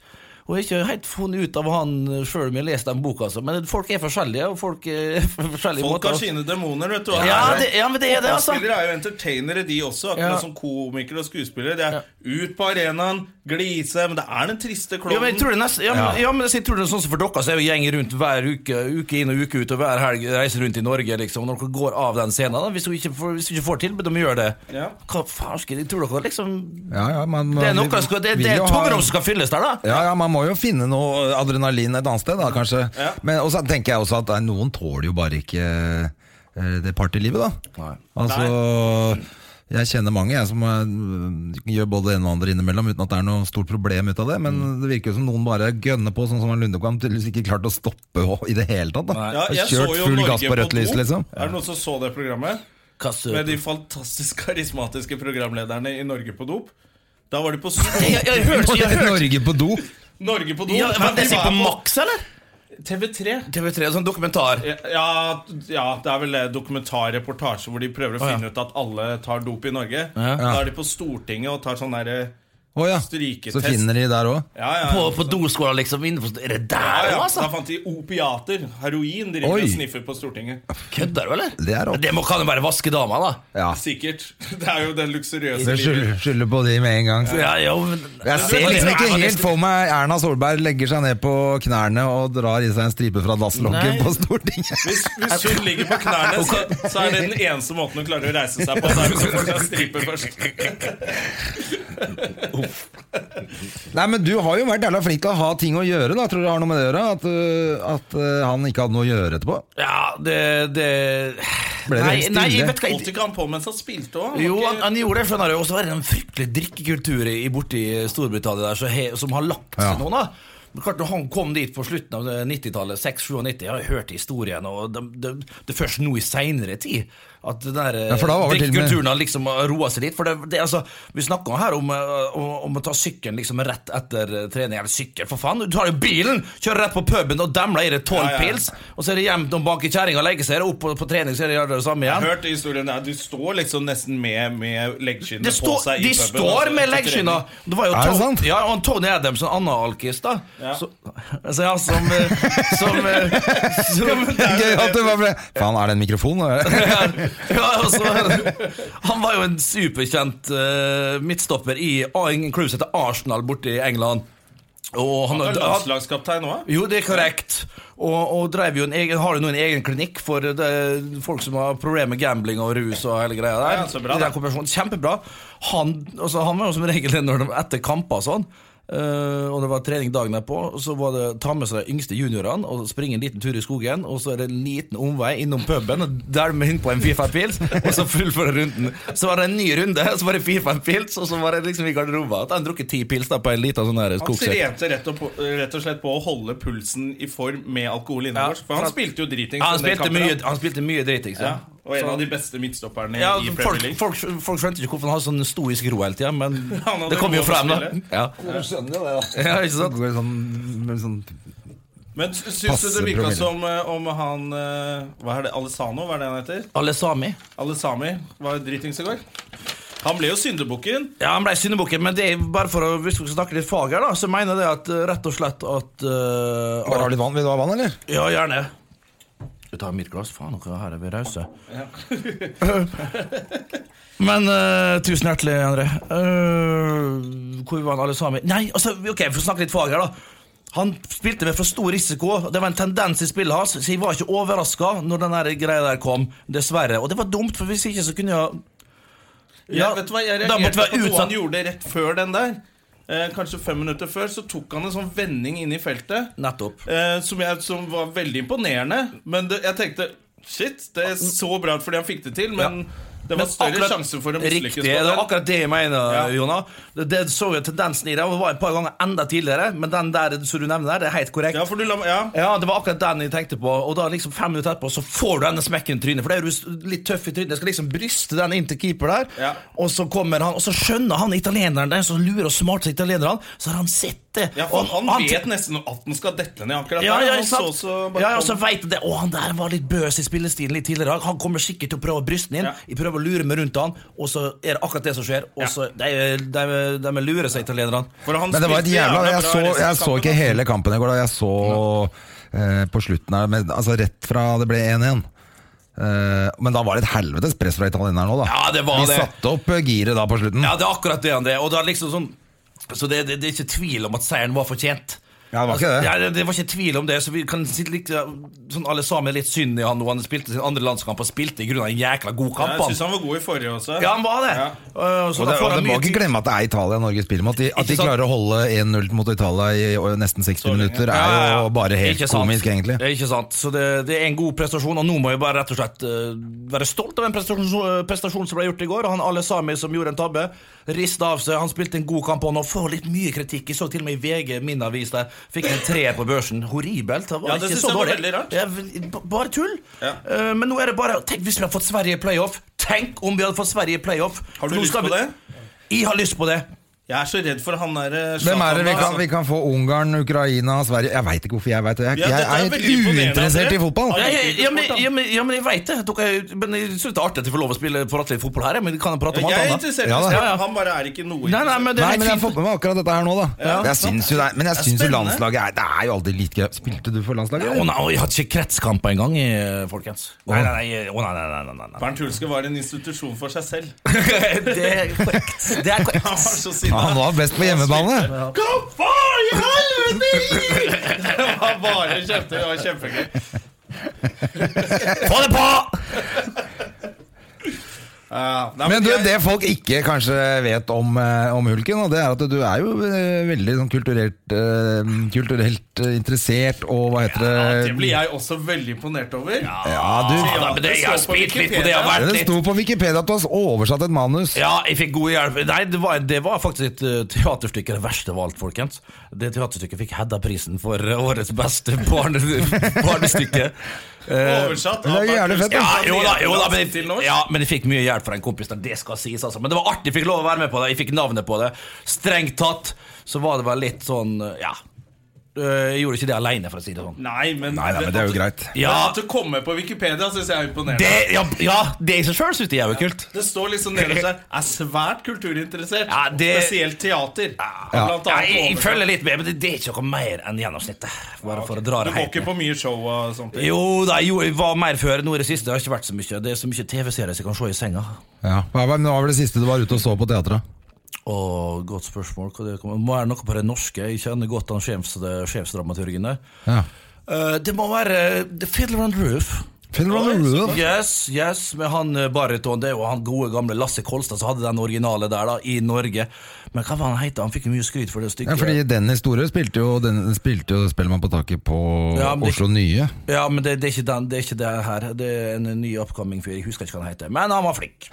[SPEAKER 3] Og jeg har ikke helt funnet ut av han sjøl om jeg har lest den boka, altså. Men folk er forskjellige, og folk er forskjellige
[SPEAKER 1] Folk har
[SPEAKER 3] måter.
[SPEAKER 1] sine demoner, vet du.
[SPEAKER 3] Ja, det, ja, men det er det, altså.
[SPEAKER 1] Fotballspillere er jo entertainere, de også. Akkurat
[SPEAKER 3] Ja.
[SPEAKER 1] som komikere og skuespillere. Det er ut på arenaen, glise, men det er den triste
[SPEAKER 3] Ja, men jeg
[SPEAKER 1] klovnen.
[SPEAKER 3] tror det er nesten, ja, men, ja, men jeg tror det er sånn som for dere, så er jo gjengen rundt hver uke, uke inn og uke ut, og hver helg reiser rundt i Norge, liksom, når dere går av den scenen, da, hvis du ikke får, hvis du ikke får tilbud om å gjøre det.
[SPEAKER 1] Ja.
[SPEAKER 3] Hva farsken, jeg tror dere liksom,
[SPEAKER 2] Ja, ja, man,
[SPEAKER 3] det er
[SPEAKER 2] vi-
[SPEAKER 3] noe, som skal, det,
[SPEAKER 2] vil
[SPEAKER 3] det er
[SPEAKER 2] jo
[SPEAKER 3] et
[SPEAKER 2] ha-
[SPEAKER 3] tomrom som skal fylles der, da.
[SPEAKER 2] Ja, ja, Man må jo finne noe adrenalin et annet sted, da, kanskje.
[SPEAKER 1] Ja.
[SPEAKER 2] Men også tenker jeg også at eh, noen tåler jo bare ikke eh, det partylivet, da.
[SPEAKER 3] Nei.
[SPEAKER 2] Altså Jeg kjenner mange jeg som eh, gjør både det ene og det andre innimellom uten at det er noe stort problem ut av det, men
[SPEAKER 1] Mm.
[SPEAKER 2] det virker jo som noen bare gønner på, sånn som han Lundekamp tydeligvis ikke klarte å stoppe i det hele tatt. da
[SPEAKER 1] Ja, jeg så
[SPEAKER 2] Kjørt
[SPEAKER 1] jo
[SPEAKER 2] full
[SPEAKER 1] Norge
[SPEAKER 2] gass på rødt
[SPEAKER 1] do.
[SPEAKER 2] lys, liksom.
[SPEAKER 1] Er det noen som så det programmet? Med de fantastisk karismatiske programlederne i Norge på dop. Da var de på
[SPEAKER 3] Jeg, jeg, hørte, jeg hørte
[SPEAKER 2] Norge på do!
[SPEAKER 1] Norge på dop.
[SPEAKER 3] ja,
[SPEAKER 1] Nei,
[SPEAKER 3] var
[SPEAKER 1] de
[SPEAKER 3] det sikkert på
[SPEAKER 1] var
[SPEAKER 3] Max, eller?
[SPEAKER 1] på TV3.
[SPEAKER 3] TV3, sånn dokumentar.
[SPEAKER 1] Ja, ja, det er vel det dokumentarreportasje hvor de prøver å
[SPEAKER 3] Å, ja.
[SPEAKER 1] finne ut at alle tar dop i Norge. Da er de på Stortinget og tar sånn derre
[SPEAKER 2] Å ja.
[SPEAKER 1] Stryketest.
[SPEAKER 2] Så finner de der òg.
[SPEAKER 1] ja, ja,
[SPEAKER 3] På, på doskåla, liksom. Innenfor, er det
[SPEAKER 1] ja,
[SPEAKER 3] der
[SPEAKER 1] ja.
[SPEAKER 3] òg,
[SPEAKER 1] Da
[SPEAKER 3] altså?
[SPEAKER 1] fant de opiater. Heroin driver
[SPEAKER 2] Oi.
[SPEAKER 1] og sniffer på Stortinget.
[SPEAKER 3] Kødder du, eller?
[SPEAKER 2] Det er rått.
[SPEAKER 3] det må, kan jo bare vaske dama, da.
[SPEAKER 2] Ja.
[SPEAKER 1] Sikkert. Det er jo det
[SPEAKER 2] Jeg
[SPEAKER 1] luksuriøse livet.
[SPEAKER 2] skylder, skylder på de med en gang.
[SPEAKER 3] Ja, jo, men-
[SPEAKER 2] Jeg ser liksom ikke helt for meg Erna Solberg legger seg ned på knærne og drar i seg en stripe fra dasslokket
[SPEAKER 3] Nei.
[SPEAKER 2] på Stortinget.
[SPEAKER 1] Hvis, hvis hun ligger på knærne, så, så er det den eneste måten hun klarer å reise seg på. Så er det så får hun stripe først.
[SPEAKER 2] Nei, men Du har jo vært jævla flink til å ha ting å gjøre. da Tror du det har noe med det å gjøre? At, øh, at øh, han ikke hadde noe å gjøre etterpå?
[SPEAKER 3] Ja, det, det
[SPEAKER 2] Ble det
[SPEAKER 3] Nei,
[SPEAKER 2] helt
[SPEAKER 3] nei,
[SPEAKER 2] stille?
[SPEAKER 3] vet du hva
[SPEAKER 1] Holdt ikke han på mens han spilte òg?
[SPEAKER 3] Jo, han, han gjorde det, skjønner du. Og så var det en fryktelig drikkekultur i- borti Storbritannia der, så he, som har lagt seg
[SPEAKER 2] Ja.
[SPEAKER 3] nå, da. Men klart, når han kom dit på slutten av eh, 90-tallet, 96-97, jeg har hørt historien, og det, det, det er først nå i seinere tid at den der eh,
[SPEAKER 2] Ja, for da var vel til og med-
[SPEAKER 3] drikkekulturen har liksom roa seg litt. For det, det, er altså, vi snakker her om, eh, om, om å ta sykkelen liksom rett etter eh, trening. Eller sykkel, for faen! Du tar jo bilen, kjører rett på puben og demler i deg tolv
[SPEAKER 1] Ja, ja.
[SPEAKER 3] pils, og så er det hjem til bak i kjerringa og legger seg, og opp på, på trening, så er det gjør det samme igjen.
[SPEAKER 1] Hørt historien der, Du står liksom nesten med, med leggskinnene
[SPEAKER 3] Det
[SPEAKER 1] på
[SPEAKER 3] står-
[SPEAKER 1] seg. altså,
[SPEAKER 3] de står med leggskinna! Det var jo
[SPEAKER 2] Er det
[SPEAKER 3] Tony-
[SPEAKER 2] sant?
[SPEAKER 3] Ja, og Tony Adams, en annen alkis, da.
[SPEAKER 1] Ja.
[SPEAKER 3] Så, altså, ja, som, eh, som, eh, som
[SPEAKER 2] Gøy at du bare ble Faen, er det en mikrofon?
[SPEAKER 3] ja, altså, han var jo en superkjent eh, midtstopper i A- en klubb som heter Arsenal borte i England. Og han,
[SPEAKER 1] Han er
[SPEAKER 3] han,
[SPEAKER 1] landslagskaptein òg?
[SPEAKER 3] jo, det er korrekt. Og, og drev jo en egen, har jo nå en egen klinikk for eh, det, folk som har problemer med gambling og rus og hele greia der.
[SPEAKER 1] Ja, så bra,
[SPEAKER 3] I den
[SPEAKER 1] da.
[SPEAKER 3] kombinasjonen. Kjempebra. Han, altså, han var jo som regel når de, etter kamper og sånn. eh, og det var trening dagen derpå. Så var det ta med seg de yngste juniorene og springe en liten tur i skogen. Og så er det en liten omvei innom puben, og dælme inn på en Fifa Pils. Og så fullføre runden. Så var det en ny runde, så var det Fifa Pils, og så var det liksom i garderoben. At han drukket ti pils da på en liten sånn her
[SPEAKER 1] Han
[SPEAKER 3] skogsekk.
[SPEAKER 1] trente rett og, på- rett og slett på å holde pulsen i form med alkohol innabords. For han
[SPEAKER 3] for-
[SPEAKER 1] spilte jo driting.
[SPEAKER 3] Ja, han, spilte mye, han spilte mye drit, ikke
[SPEAKER 1] ja,
[SPEAKER 3] sant?
[SPEAKER 1] og en av de beste midtstopperne
[SPEAKER 3] Ja, altså,
[SPEAKER 1] i
[SPEAKER 3] folk,
[SPEAKER 1] Premier League.
[SPEAKER 3] folk, folk skjønte ikke hvorfor han hadde sånn stoisk ro hele tida, men
[SPEAKER 1] Han hadde
[SPEAKER 3] det kom jo
[SPEAKER 1] lov å
[SPEAKER 3] frem, da.
[SPEAKER 1] spille.
[SPEAKER 3] Ja.
[SPEAKER 2] skjønner jo det, da.
[SPEAKER 3] ja, ikke sant?
[SPEAKER 2] Går sånn, med sånn
[SPEAKER 1] Men syns
[SPEAKER 2] Passe
[SPEAKER 1] du det virka
[SPEAKER 2] promille.
[SPEAKER 1] som eh, om han eh, Hva er det, Alessano? Hva er det han heter?
[SPEAKER 3] Alle sami.
[SPEAKER 1] Alessami var dritings i går. Han ble jo syndebukken.
[SPEAKER 3] Ja, han ble syndebukken, men det er bare for å hvis vi skal snakke litt fag her, da, så mener jeg det at eh, rett og slett at eh,
[SPEAKER 2] Bare har litt vann? Vil du ha vann, eller?
[SPEAKER 3] Ja, gjerne. Skal vi ta mitt glass? Faen, dere her er vi rause. Men eh, tusen hjertelig, André. Eh, hvor var han alle sammen? Nei, altså, ok, vi får snakke litt fag her, da. Han spilte med for stor risiko. Det var en tendens i spillet hans, så jeg var ikke overraska når den der greia der kom. Dessverre. Og det var dumt, for hvis ikke så kunne jeg
[SPEAKER 1] Ja, vet du hva, Jeg
[SPEAKER 3] da måtte
[SPEAKER 1] reagerte
[SPEAKER 3] jeg
[SPEAKER 1] på
[SPEAKER 3] være
[SPEAKER 1] noe han
[SPEAKER 3] utsatt.
[SPEAKER 1] gjorde rett før den der. Eh, kanskje fem minutter før så tok han en sånn vending inn i feltet
[SPEAKER 3] Nettopp.
[SPEAKER 1] eh, som, jeg, som var veldig imponerende. Men det, jeg tenkte Shit, det så bra ut fordi han fikk det til, men det var
[SPEAKER 3] Men
[SPEAKER 1] større
[SPEAKER 3] akkurat-
[SPEAKER 1] sjanse for å
[SPEAKER 3] Riktig,
[SPEAKER 1] mislykkes.
[SPEAKER 3] det
[SPEAKER 1] på
[SPEAKER 3] er
[SPEAKER 1] den.
[SPEAKER 3] akkurat det jeg mener,
[SPEAKER 1] Ja.
[SPEAKER 3] Jonah. Det, det så jo tendensen i det. og Det var et par ganger enda tidligere, men den der som du nevner der, det er helt korrekt.
[SPEAKER 1] Ja, for du la Ja.
[SPEAKER 3] Ja, det var akkurat den jeg tenkte på. Og da liksom fem minutter etterpå så får du denne smekken i trynet. For det er du litt tøff i trynet. Jeg skal liksom bryste den inn til keeper der.
[SPEAKER 1] Ja.
[SPEAKER 3] Og så kommer han, og så skjønner han italieneren den som lurer og smarter italieneren, så har han sett det.
[SPEAKER 1] ja, for
[SPEAKER 3] Og
[SPEAKER 1] han, vet nesten at den skal dette ned akkurat
[SPEAKER 3] ja,
[SPEAKER 1] der.
[SPEAKER 3] ja,
[SPEAKER 1] Han
[SPEAKER 3] ikke
[SPEAKER 1] så
[SPEAKER 3] sant?
[SPEAKER 1] så bare
[SPEAKER 3] ja, ja,
[SPEAKER 1] kom-
[SPEAKER 3] så vet jeg det. Å, han der var litt bøs i spillestilen litt tidligere i dag. Han kommer sikkert til å prøve å bryste den inn.
[SPEAKER 1] Ja.
[SPEAKER 3] Jeg prøver å lure meg rundt han, og så er det akkurat det som skjer. Og så de, de, de lurer seg, italienerne.
[SPEAKER 1] For han
[SPEAKER 2] Men det var et
[SPEAKER 1] spilte
[SPEAKER 2] jævla
[SPEAKER 1] jævla
[SPEAKER 2] Jeg
[SPEAKER 1] bra
[SPEAKER 2] så,
[SPEAKER 1] resten av
[SPEAKER 2] jeg så
[SPEAKER 1] kampen,
[SPEAKER 2] ikke
[SPEAKER 1] altså.
[SPEAKER 2] hele kampen i går. da Jeg så eh, på slutten her men, Altså rett fra det ble 1-1. Eh, men da var det et helvetes press fra italieneren òg, da.
[SPEAKER 3] Ja, det var
[SPEAKER 2] De
[SPEAKER 3] det.
[SPEAKER 2] satte opp eh, giret da på slutten.
[SPEAKER 3] Ja, det er akkurat det han det er. Og det er liksom sånn, så det, det, det er ikke tvil om at seieren var fortjent.
[SPEAKER 2] Ja, det var ikke det.
[SPEAKER 3] Ja, det, det var ikke tvil om det, så vi kan sitte litt, ja, sånn alle sammen er litt synd i han nå. Han spilte sin andre landskamp og spilte i grunn av en jækla god kamp.
[SPEAKER 1] Jeg syns han var god i forrige også.
[SPEAKER 3] Ja, han var det.
[SPEAKER 1] Ja.
[SPEAKER 3] Uh, så
[SPEAKER 2] Og
[SPEAKER 3] da
[SPEAKER 2] det, og
[SPEAKER 3] får han
[SPEAKER 2] det må
[SPEAKER 3] mye
[SPEAKER 2] ikke
[SPEAKER 3] tid.
[SPEAKER 2] glemme at det er Italia Norge spiller mot. De, at de
[SPEAKER 3] Ikke sant?
[SPEAKER 2] klarer å holde 1-0 mot Italia i i nesten 60 minutter,
[SPEAKER 3] Ja,
[SPEAKER 2] er
[SPEAKER 3] ja, ja.
[SPEAKER 2] jo bare helt
[SPEAKER 3] Ikke sant.
[SPEAKER 2] komisk, egentlig.
[SPEAKER 3] Ja, ikke sant. Så det, det er en god prestasjon, og nå må jeg bare rett og slett eh, være stolt av den prestasjonen prestasjon som ble gjort i går. Og han alle sammen som gjorde en tabbe, rista av seg. Han spilte en god kamp, og han får litt mye kritikk. Jeg så til og med i VG, min avis, der fikk en treer på børsen. Horribelt. Det var
[SPEAKER 1] Ja, det
[SPEAKER 3] ikke
[SPEAKER 1] synes
[SPEAKER 3] så
[SPEAKER 1] jeg var
[SPEAKER 3] dårlig.
[SPEAKER 1] veldig rart.
[SPEAKER 3] Det er vel- b- bare tull.
[SPEAKER 1] Ja.
[SPEAKER 3] Eh, men nå er det bare Tenk hvis vi hadde fått Sverige i playoff! Tenk om vi hadde fått Sverige i playoff!
[SPEAKER 1] Har du
[SPEAKER 3] Nå
[SPEAKER 1] lyst
[SPEAKER 3] skal
[SPEAKER 1] på
[SPEAKER 3] vi-
[SPEAKER 1] det?
[SPEAKER 3] Jeg har lyst på det.
[SPEAKER 1] Jeg er så redd for han eh, derre
[SPEAKER 2] Hvem er det vi
[SPEAKER 1] altså.
[SPEAKER 2] kan, vi kan få? Ungarn, Ukraina, Sverige Jeg veit ikke hvorfor jeg veit det. Jeg,
[SPEAKER 1] Ja,
[SPEAKER 2] jeg
[SPEAKER 1] dette er
[SPEAKER 2] er helt
[SPEAKER 1] veldig imponerende,
[SPEAKER 2] uinteressert
[SPEAKER 1] André.
[SPEAKER 2] i fotball.
[SPEAKER 1] Ja,
[SPEAKER 3] Ja,
[SPEAKER 1] jeg-
[SPEAKER 3] ja, ja, men, ja, men, ja, men jeg veit det. Dere, er jo- men jeg syns det er artig at jeg får lov å spille prate litt fotball her. jeg, Men vi kan prate om alt
[SPEAKER 1] Jeg er
[SPEAKER 3] annet.
[SPEAKER 1] interessert i
[SPEAKER 2] Ja, da.
[SPEAKER 1] Sverige, han bare er ikke noe
[SPEAKER 3] Nei, nei, men det er
[SPEAKER 2] Nei,
[SPEAKER 3] helt
[SPEAKER 2] men jeg
[SPEAKER 3] fint.
[SPEAKER 2] får på meg akkurat dette her nå, da.
[SPEAKER 1] Ja.
[SPEAKER 2] jeg syns jo det, er- men jeg
[SPEAKER 1] Det er
[SPEAKER 2] syns jo
[SPEAKER 1] spennende.
[SPEAKER 2] landslaget er, Det er jo alltid litt gøy. Spilte du for landslaget?
[SPEAKER 3] Å
[SPEAKER 2] eller?
[SPEAKER 3] nei, å, jeg hadde ikke kretskamper engang, eh, folkens. Nei, nei, nei, å, nei, nei, nei, nei, nei.
[SPEAKER 1] Bernt Hulske var en institusjon for seg selv.
[SPEAKER 3] Det er korrekt. Det er
[SPEAKER 1] Han var
[SPEAKER 3] korrekt.
[SPEAKER 1] så
[SPEAKER 2] Ja,
[SPEAKER 1] sinna.
[SPEAKER 2] han var best på hjemmebane.
[SPEAKER 1] Kom, far i helvete! Det var bare kjefter. Det var kjempegøy.
[SPEAKER 3] Få det på!
[SPEAKER 1] Ja, nei,
[SPEAKER 2] Men du,
[SPEAKER 1] jeg-
[SPEAKER 2] det folk ikke kanskje vet om, eh, om Hulken, og det er at du er jo eh, veldig sånn kulturelt, eh, kulturelt eh, interessert og hva heter
[SPEAKER 1] ja, det
[SPEAKER 2] det
[SPEAKER 1] blir jeg også veldig imponert over.
[SPEAKER 2] Ja, du.
[SPEAKER 3] Ja, nei, men det, jeg har spilt litt på det. Jeg har
[SPEAKER 2] Ja,
[SPEAKER 3] vært
[SPEAKER 2] Det
[SPEAKER 3] litt
[SPEAKER 2] sto på Wikipedia at du har oversatt et manus.
[SPEAKER 3] Ja, jeg fikk god hjelp. Nei, det var, det var faktisk et eh, teaterstykke, det verste av alt, folkens. Det teaterstykket fikk Hedda-prisen for eh, årets beste barne, barnestykke. Eh,
[SPEAKER 1] Oversatt
[SPEAKER 2] Det er jo jævlig fett, da.
[SPEAKER 3] ja, jo da, jo da, men,
[SPEAKER 1] til norsk.
[SPEAKER 3] ja, men jeg fikk mye hjelp fra en kompis. der, Det skal sies, altså. Men det var artig. Jeg fikk lov å være med på det. Jeg fikk navnet på det. Strengt tatt så var det vel litt sånn Ja. Eh, Jeg gjorde ikke det aleine, for å si det sånn.
[SPEAKER 1] Nei, men,
[SPEAKER 2] Nei, nei, men det er jo
[SPEAKER 1] at-
[SPEAKER 2] greit.
[SPEAKER 3] Ja,
[SPEAKER 1] At du kommer på Wikipedia, syns jeg er imponerende.
[SPEAKER 3] det,
[SPEAKER 1] Det,
[SPEAKER 3] ja, ja, det i seg sjøl syns jeg er jo kult.
[SPEAKER 1] står liksom nederst der. Er svært kulturinteressert.
[SPEAKER 3] Ja, det-
[SPEAKER 1] Spesielt teater.
[SPEAKER 2] Ja.
[SPEAKER 1] Blant annet
[SPEAKER 3] Ja, jeg, jeg
[SPEAKER 1] oversatt.
[SPEAKER 3] følger litt med, men det, det er ikke noe mer enn gjennomsnittet. Bare for å
[SPEAKER 1] Du
[SPEAKER 3] dra det
[SPEAKER 1] går
[SPEAKER 3] helt
[SPEAKER 1] ikke
[SPEAKER 3] ned.
[SPEAKER 1] på mye show og sånt?
[SPEAKER 3] Jo da, jo, jeg var mer før nå i det siste. Det har ikke vært så mye. Det er så mye TV-serier som jeg kan se i senga.
[SPEAKER 2] Ja. Hva var hva var det siste du var ute og så på teatret?
[SPEAKER 3] Og godt spørsmål. Hva det kommer. Må være noe på det norske. Jeg kjenner godt han sjefs, sjefsdramaturgene.
[SPEAKER 2] Ja.
[SPEAKER 3] Eh, det må være The Fiddler on the Roof.
[SPEAKER 2] Fiddler on the Roof.
[SPEAKER 3] Yes, yes, med han eh, baryton. Det er jo han gode gamle Lasse Kolstad som hadde den originale der, da, i Norge. Men hva var han het? Han fikk jo mye skryt for det stykket.
[SPEAKER 2] Ja, fordi Dennis Store spilte jo, den, spilte jo Spellemann på taket på
[SPEAKER 3] Ja, men det-
[SPEAKER 2] Oslo Nye.
[SPEAKER 3] Ja, men det, det, er ikke den, det er ikke det her. Det er en ny upcoming fyr. Jeg husker ikke hva han heter. Men han var flink.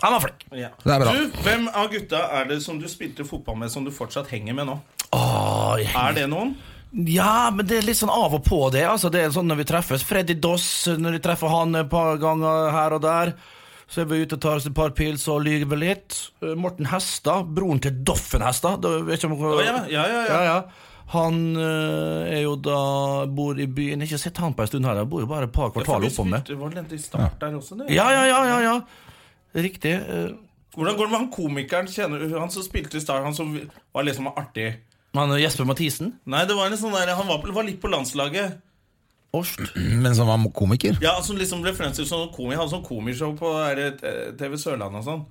[SPEAKER 3] Han var flink.
[SPEAKER 1] Ja.
[SPEAKER 2] Det er bra.
[SPEAKER 1] Du, hvem av gutta er det som du spilte fotball med, som du fortsatt henger med nå?
[SPEAKER 3] Åh, jeg-
[SPEAKER 1] Er det noen?
[SPEAKER 3] ja, men det er litt sånn av og på, det. Altså, det er sånn når vi treffes. Freddy Doss, når jeg treffer han et par ganger her og der. Så er vi ute og tar oss et par pils og lyver vi litt. Eh, Morten Hestad, broren til Doffen Hestad. Da vet ikke om-
[SPEAKER 1] ja, ja, ja, ja.
[SPEAKER 3] Han eh, er jo da bor i byen. Ikke sett han på en stund her, han bor jo bare et par
[SPEAKER 1] For
[SPEAKER 3] kvartal
[SPEAKER 1] du
[SPEAKER 3] oppom meg.
[SPEAKER 1] spilte var det litt i start der også, det?
[SPEAKER 3] Ja, ja, ja, ja, ja. Riktig. eh,
[SPEAKER 1] Hvordan går det med han komikeren? Kjenner du han som spilte i start? Han som var liksom artig?
[SPEAKER 3] Han er Jesper Mathisen.
[SPEAKER 1] Nei, det var en sånn der, han var, var litt på landslaget.
[SPEAKER 3] Orst.
[SPEAKER 2] Men som var komiker.
[SPEAKER 1] Ja, Som liksom ble fremstilt som komiker. Han som komishow på er det, eh, TV Sørlandet og sånn.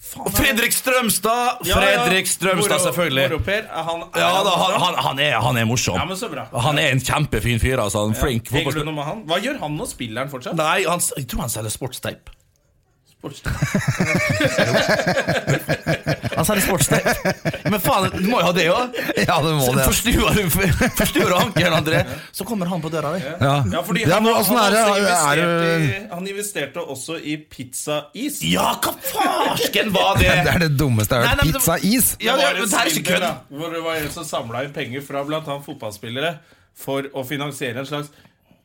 [SPEAKER 1] Faen,
[SPEAKER 3] Fredrik Strømstad!
[SPEAKER 1] Ja, ja.
[SPEAKER 3] Fredrik Strømstad,
[SPEAKER 1] Moro-
[SPEAKER 3] selvfølgelig.
[SPEAKER 1] Moro-Per, er han, er
[SPEAKER 3] Ja
[SPEAKER 1] han
[SPEAKER 3] da, han,
[SPEAKER 1] bra?
[SPEAKER 3] han, han, er, han er morsom.
[SPEAKER 1] Ja, men så bra.
[SPEAKER 3] Og Han er en kjempefin fyr. altså En flink
[SPEAKER 1] Henger du
[SPEAKER 3] fotballspiller.
[SPEAKER 1] noe med han? Hva gjør han nå? Spiller han fortsatt?
[SPEAKER 3] Nei, han, s- jeg tror han selger sportsteip.
[SPEAKER 1] Sportsteip.
[SPEAKER 3] Han selger sportsteip. Men faen, du må jo ha det òg!
[SPEAKER 2] Ja, det må det.
[SPEAKER 3] Forstuer du forstuer du ankelen, André, så kommer han på døra di.
[SPEAKER 2] Ja,
[SPEAKER 1] Ja, fordi
[SPEAKER 2] Ja,
[SPEAKER 1] han,
[SPEAKER 2] men
[SPEAKER 1] han,
[SPEAKER 2] åssen er det?
[SPEAKER 1] også
[SPEAKER 2] Er
[SPEAKER 1] investerte
[SPEAKER 2] du
[SPEAKER 1] i, han investerte også i pizzais.
[SPEAKER 3] Ja, hva farsken var det?!
[SPEAKER 2] Det er det dummeste jeg
[SPEAKER 3] Nei,
[SPEAKER 2] har
[SPEAKER 3] nei,
[SPEAKER 2] hørt.
[SPEAKER 3] men det-
[SPEAKER 2] Pizza-is!
[SPEAKER 1] det
[SPEAKER 3] Ja, ja,
[SPEAKER 1] var
[SPEAKER 3] men
[SPEAKER 1] et
[SPEAKER 3] det her er ikke
[SPEAKER 1] svindel,
[SPEAKER 3] kødd.
[SPEAKER 1] da, Hvor det var en som samla inn penger fra blant annet fotballspillere for å finansiere en slags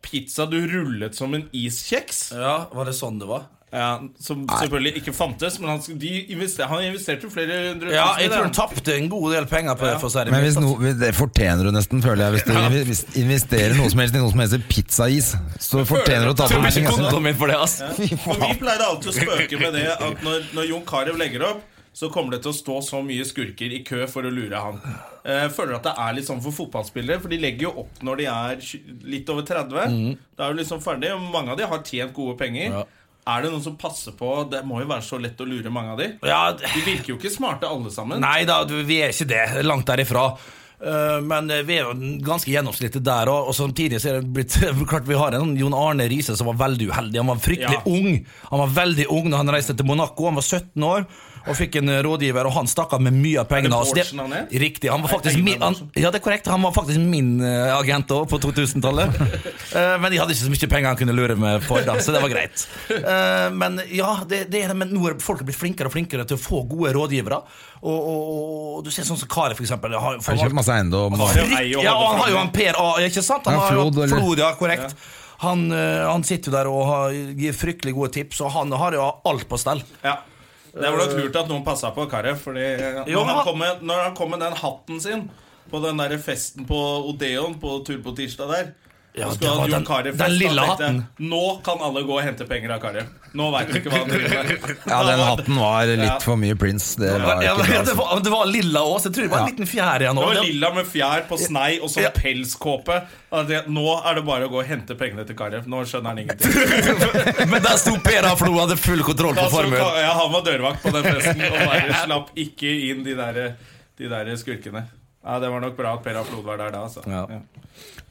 [SPEAKER 1] pizza du rullet som en iskjeks.
[SPEAKER 3] Ja, var det sånn det var?
[SPEAKER 1] Ja, som selvfølgelig ikke fantes, men han, sk- de invester, han investerte jo flere hundre
[SPEAKER 3] Ja,
[SPEAKER 1] tusen i
[SPEAKER 3] jeg
[SPEAKER 1] det.
[SPEAKER 3] tror han tapte en god del penger på det. for å si det
[SPEAKER 2] Men
[SPEAKER 3] mildt,
[SPEAKER 2] hvis
[SPEAKER 3] altså.
[SPEAKER 2] no, det fortjener du nesten, føler jeg. Hvis du invi- hvis investerer noe som helst i noe som heter pizza-is, så fortjener du å ta på
[SPEAKER 3] Tror
[SPEAKER 2] deg
[SPEAKER 3] ikke
[SPEAKER 2] penger.
[SPEAKER 3] kontoen min for det, ass.
[SPEAKER 1] For vi pleide alltid å spøke med det at når, når Jon Carew legger opp, så kommer det til å stå så mye skurker i kø for å lure han. Eh, føler at det er litt sånn for fotballspillere, for de legger jo opp når de er tj- litt over 30. Da er du liksom ferdig, og mange av de har tjent gode penger.
[SPEAKER 3] Ja.
[SPEAKER 1] Er det noen som passer på? Det må jo være så lett å lure mange av de.
[SPEAKER 3] Ja,
[SPEAKER 1] De virker jo ikke smarte alle sammen.
[SPEAKER 3] Nei da, du, vi er ikke det. Langt derifra. Eh, Eh, Men eh, vi er jo ganske gjennomsnittlig der òg. Og samtidig så er det blitt klart vi har en sånn Jon Arne Riise som var veldig uheldig. Han var fryktelig
[SPEAKER 1] Ja.
[SPEAKER 3] ung Han var veldig ung da han reiste til Monaco. Han var 17 år og fikk en eh, rådgiver, og han stakk av med mye av pengene. hans.
[SPEAKER 1] Bårdsen han er?
[SPEAKER 3] riktig. Han var
[SPEAKER 1] Er det
[SPEAKER 3] faktisk
[SPEAKER 1] pengene
[SPEAKER 3] min, han,
[SPEAKER 1] Bårdsen?
[SPEAKER 3] ja, det er korrekt. Han var faktisk min eh, agent òg, på 2000-tallet. Eh, men de hadde ikke så mye penger han kunne lure meg for, da, så det var greit. Eh, men ja, det, det er det, men nå er folk blitt flinkere og flinkere til å få gode rådgivere. Og, og, og du ser sånn som Kari, for eksempel. Har,
[SPEAKER 2] Har kjøpt masse eiendom.
[SPEAKER 1] Han
[SPEAKER 2] og-
[SPEAKER 1] har jo ei og
[SPEAKER 3] ja, og
[SPEAKER 1] holder
[SPEAKER 3] han har jo
[SPEAKER 1] frem.
[SPEAKER 3] han Per A, ikke sant? Han
[SPEAKER 2] Ja,
[SPEAKER 3] har jo
[SPEAKER 2] Flod, eller-
[SPEAKER 3] Flod, ja, korrekt. Han, eh, han sitter jo der og har, gir fryktelig gode tips, og han har jo alt på stell.
[SPEAKER 1] Ja. Det er vel nok lurt at noen passa på Karev. Fordi eh,
[SPEAKER 3] Jo,
[SPEAKER 1] når, han
[SPEAKER 3] han-
[SPEAKER 1] kom med, når han kom med den hatten sin på den der festen på Odeon på tur på tirsdag der
[SPEAKER 3] Ja,
[SPEAKER 1] og
[SPEAKER 3] det
[SPEAKER 1] skulle
[SPEAKER 3] var
[SPEAKER 1] ha Jon
[SPEAKER 3] den-
[SPEAKER 1] Carew
[SPEAKER 3] den
[SPEAKER 1] fest, da
[SPEAKER 3] lille
[SPEAKER 1] tenkte jeg,
[SPEAKER 3] hatten.
[SPEAKER 1] Nå kan alle gå og hente penger av Karev. Nå veit du ikke hva han driver med.
[SPEAKER 2] Ja, den hatten var
[SPEAKER 1] Ja.
[SPEAKER 2] litt for mye Prince. Det var
[SPEAKER 3] Ja,
[SPEAKER 2] ikke
[SPEAKER 3] men,
[SPEAKER 2] bra.
[SPEAKER 3] det,
[SPEAKER 2] altså.
[SPEAKER 3] var, det var lilla òg, så jeg tror det var en liten fjær igjen.
[SPEAKER 1] Det var
[SPEAKER 3] også.
[SPEAKER 1] lilla med fjær på snei og sånn
[SPEAKER 3] Ja.
[SPEAKER 1] pelskåpe. Og det- Nå er det bare å gå og hente pengene til Karev. Nå skjønner han ingenting.
[SPEAKER 3] Men der sto Per A. Flo og hadde full kontroll
[SPEAKER 1] Da
[SPEAKER 3] på
[SPEAKER 1] sto
[SPEAKER 3] formuen.
[SPEAKER 1] Altså, Ka- ja, han var dørvakt på den festen og bare slapp ikke inn de der, de der skurkene. Ja, Det var nok bra at Per Aflod var der da. Altså.
[SPEAKER 3] Ja.
[SPEAKER 1] Ja.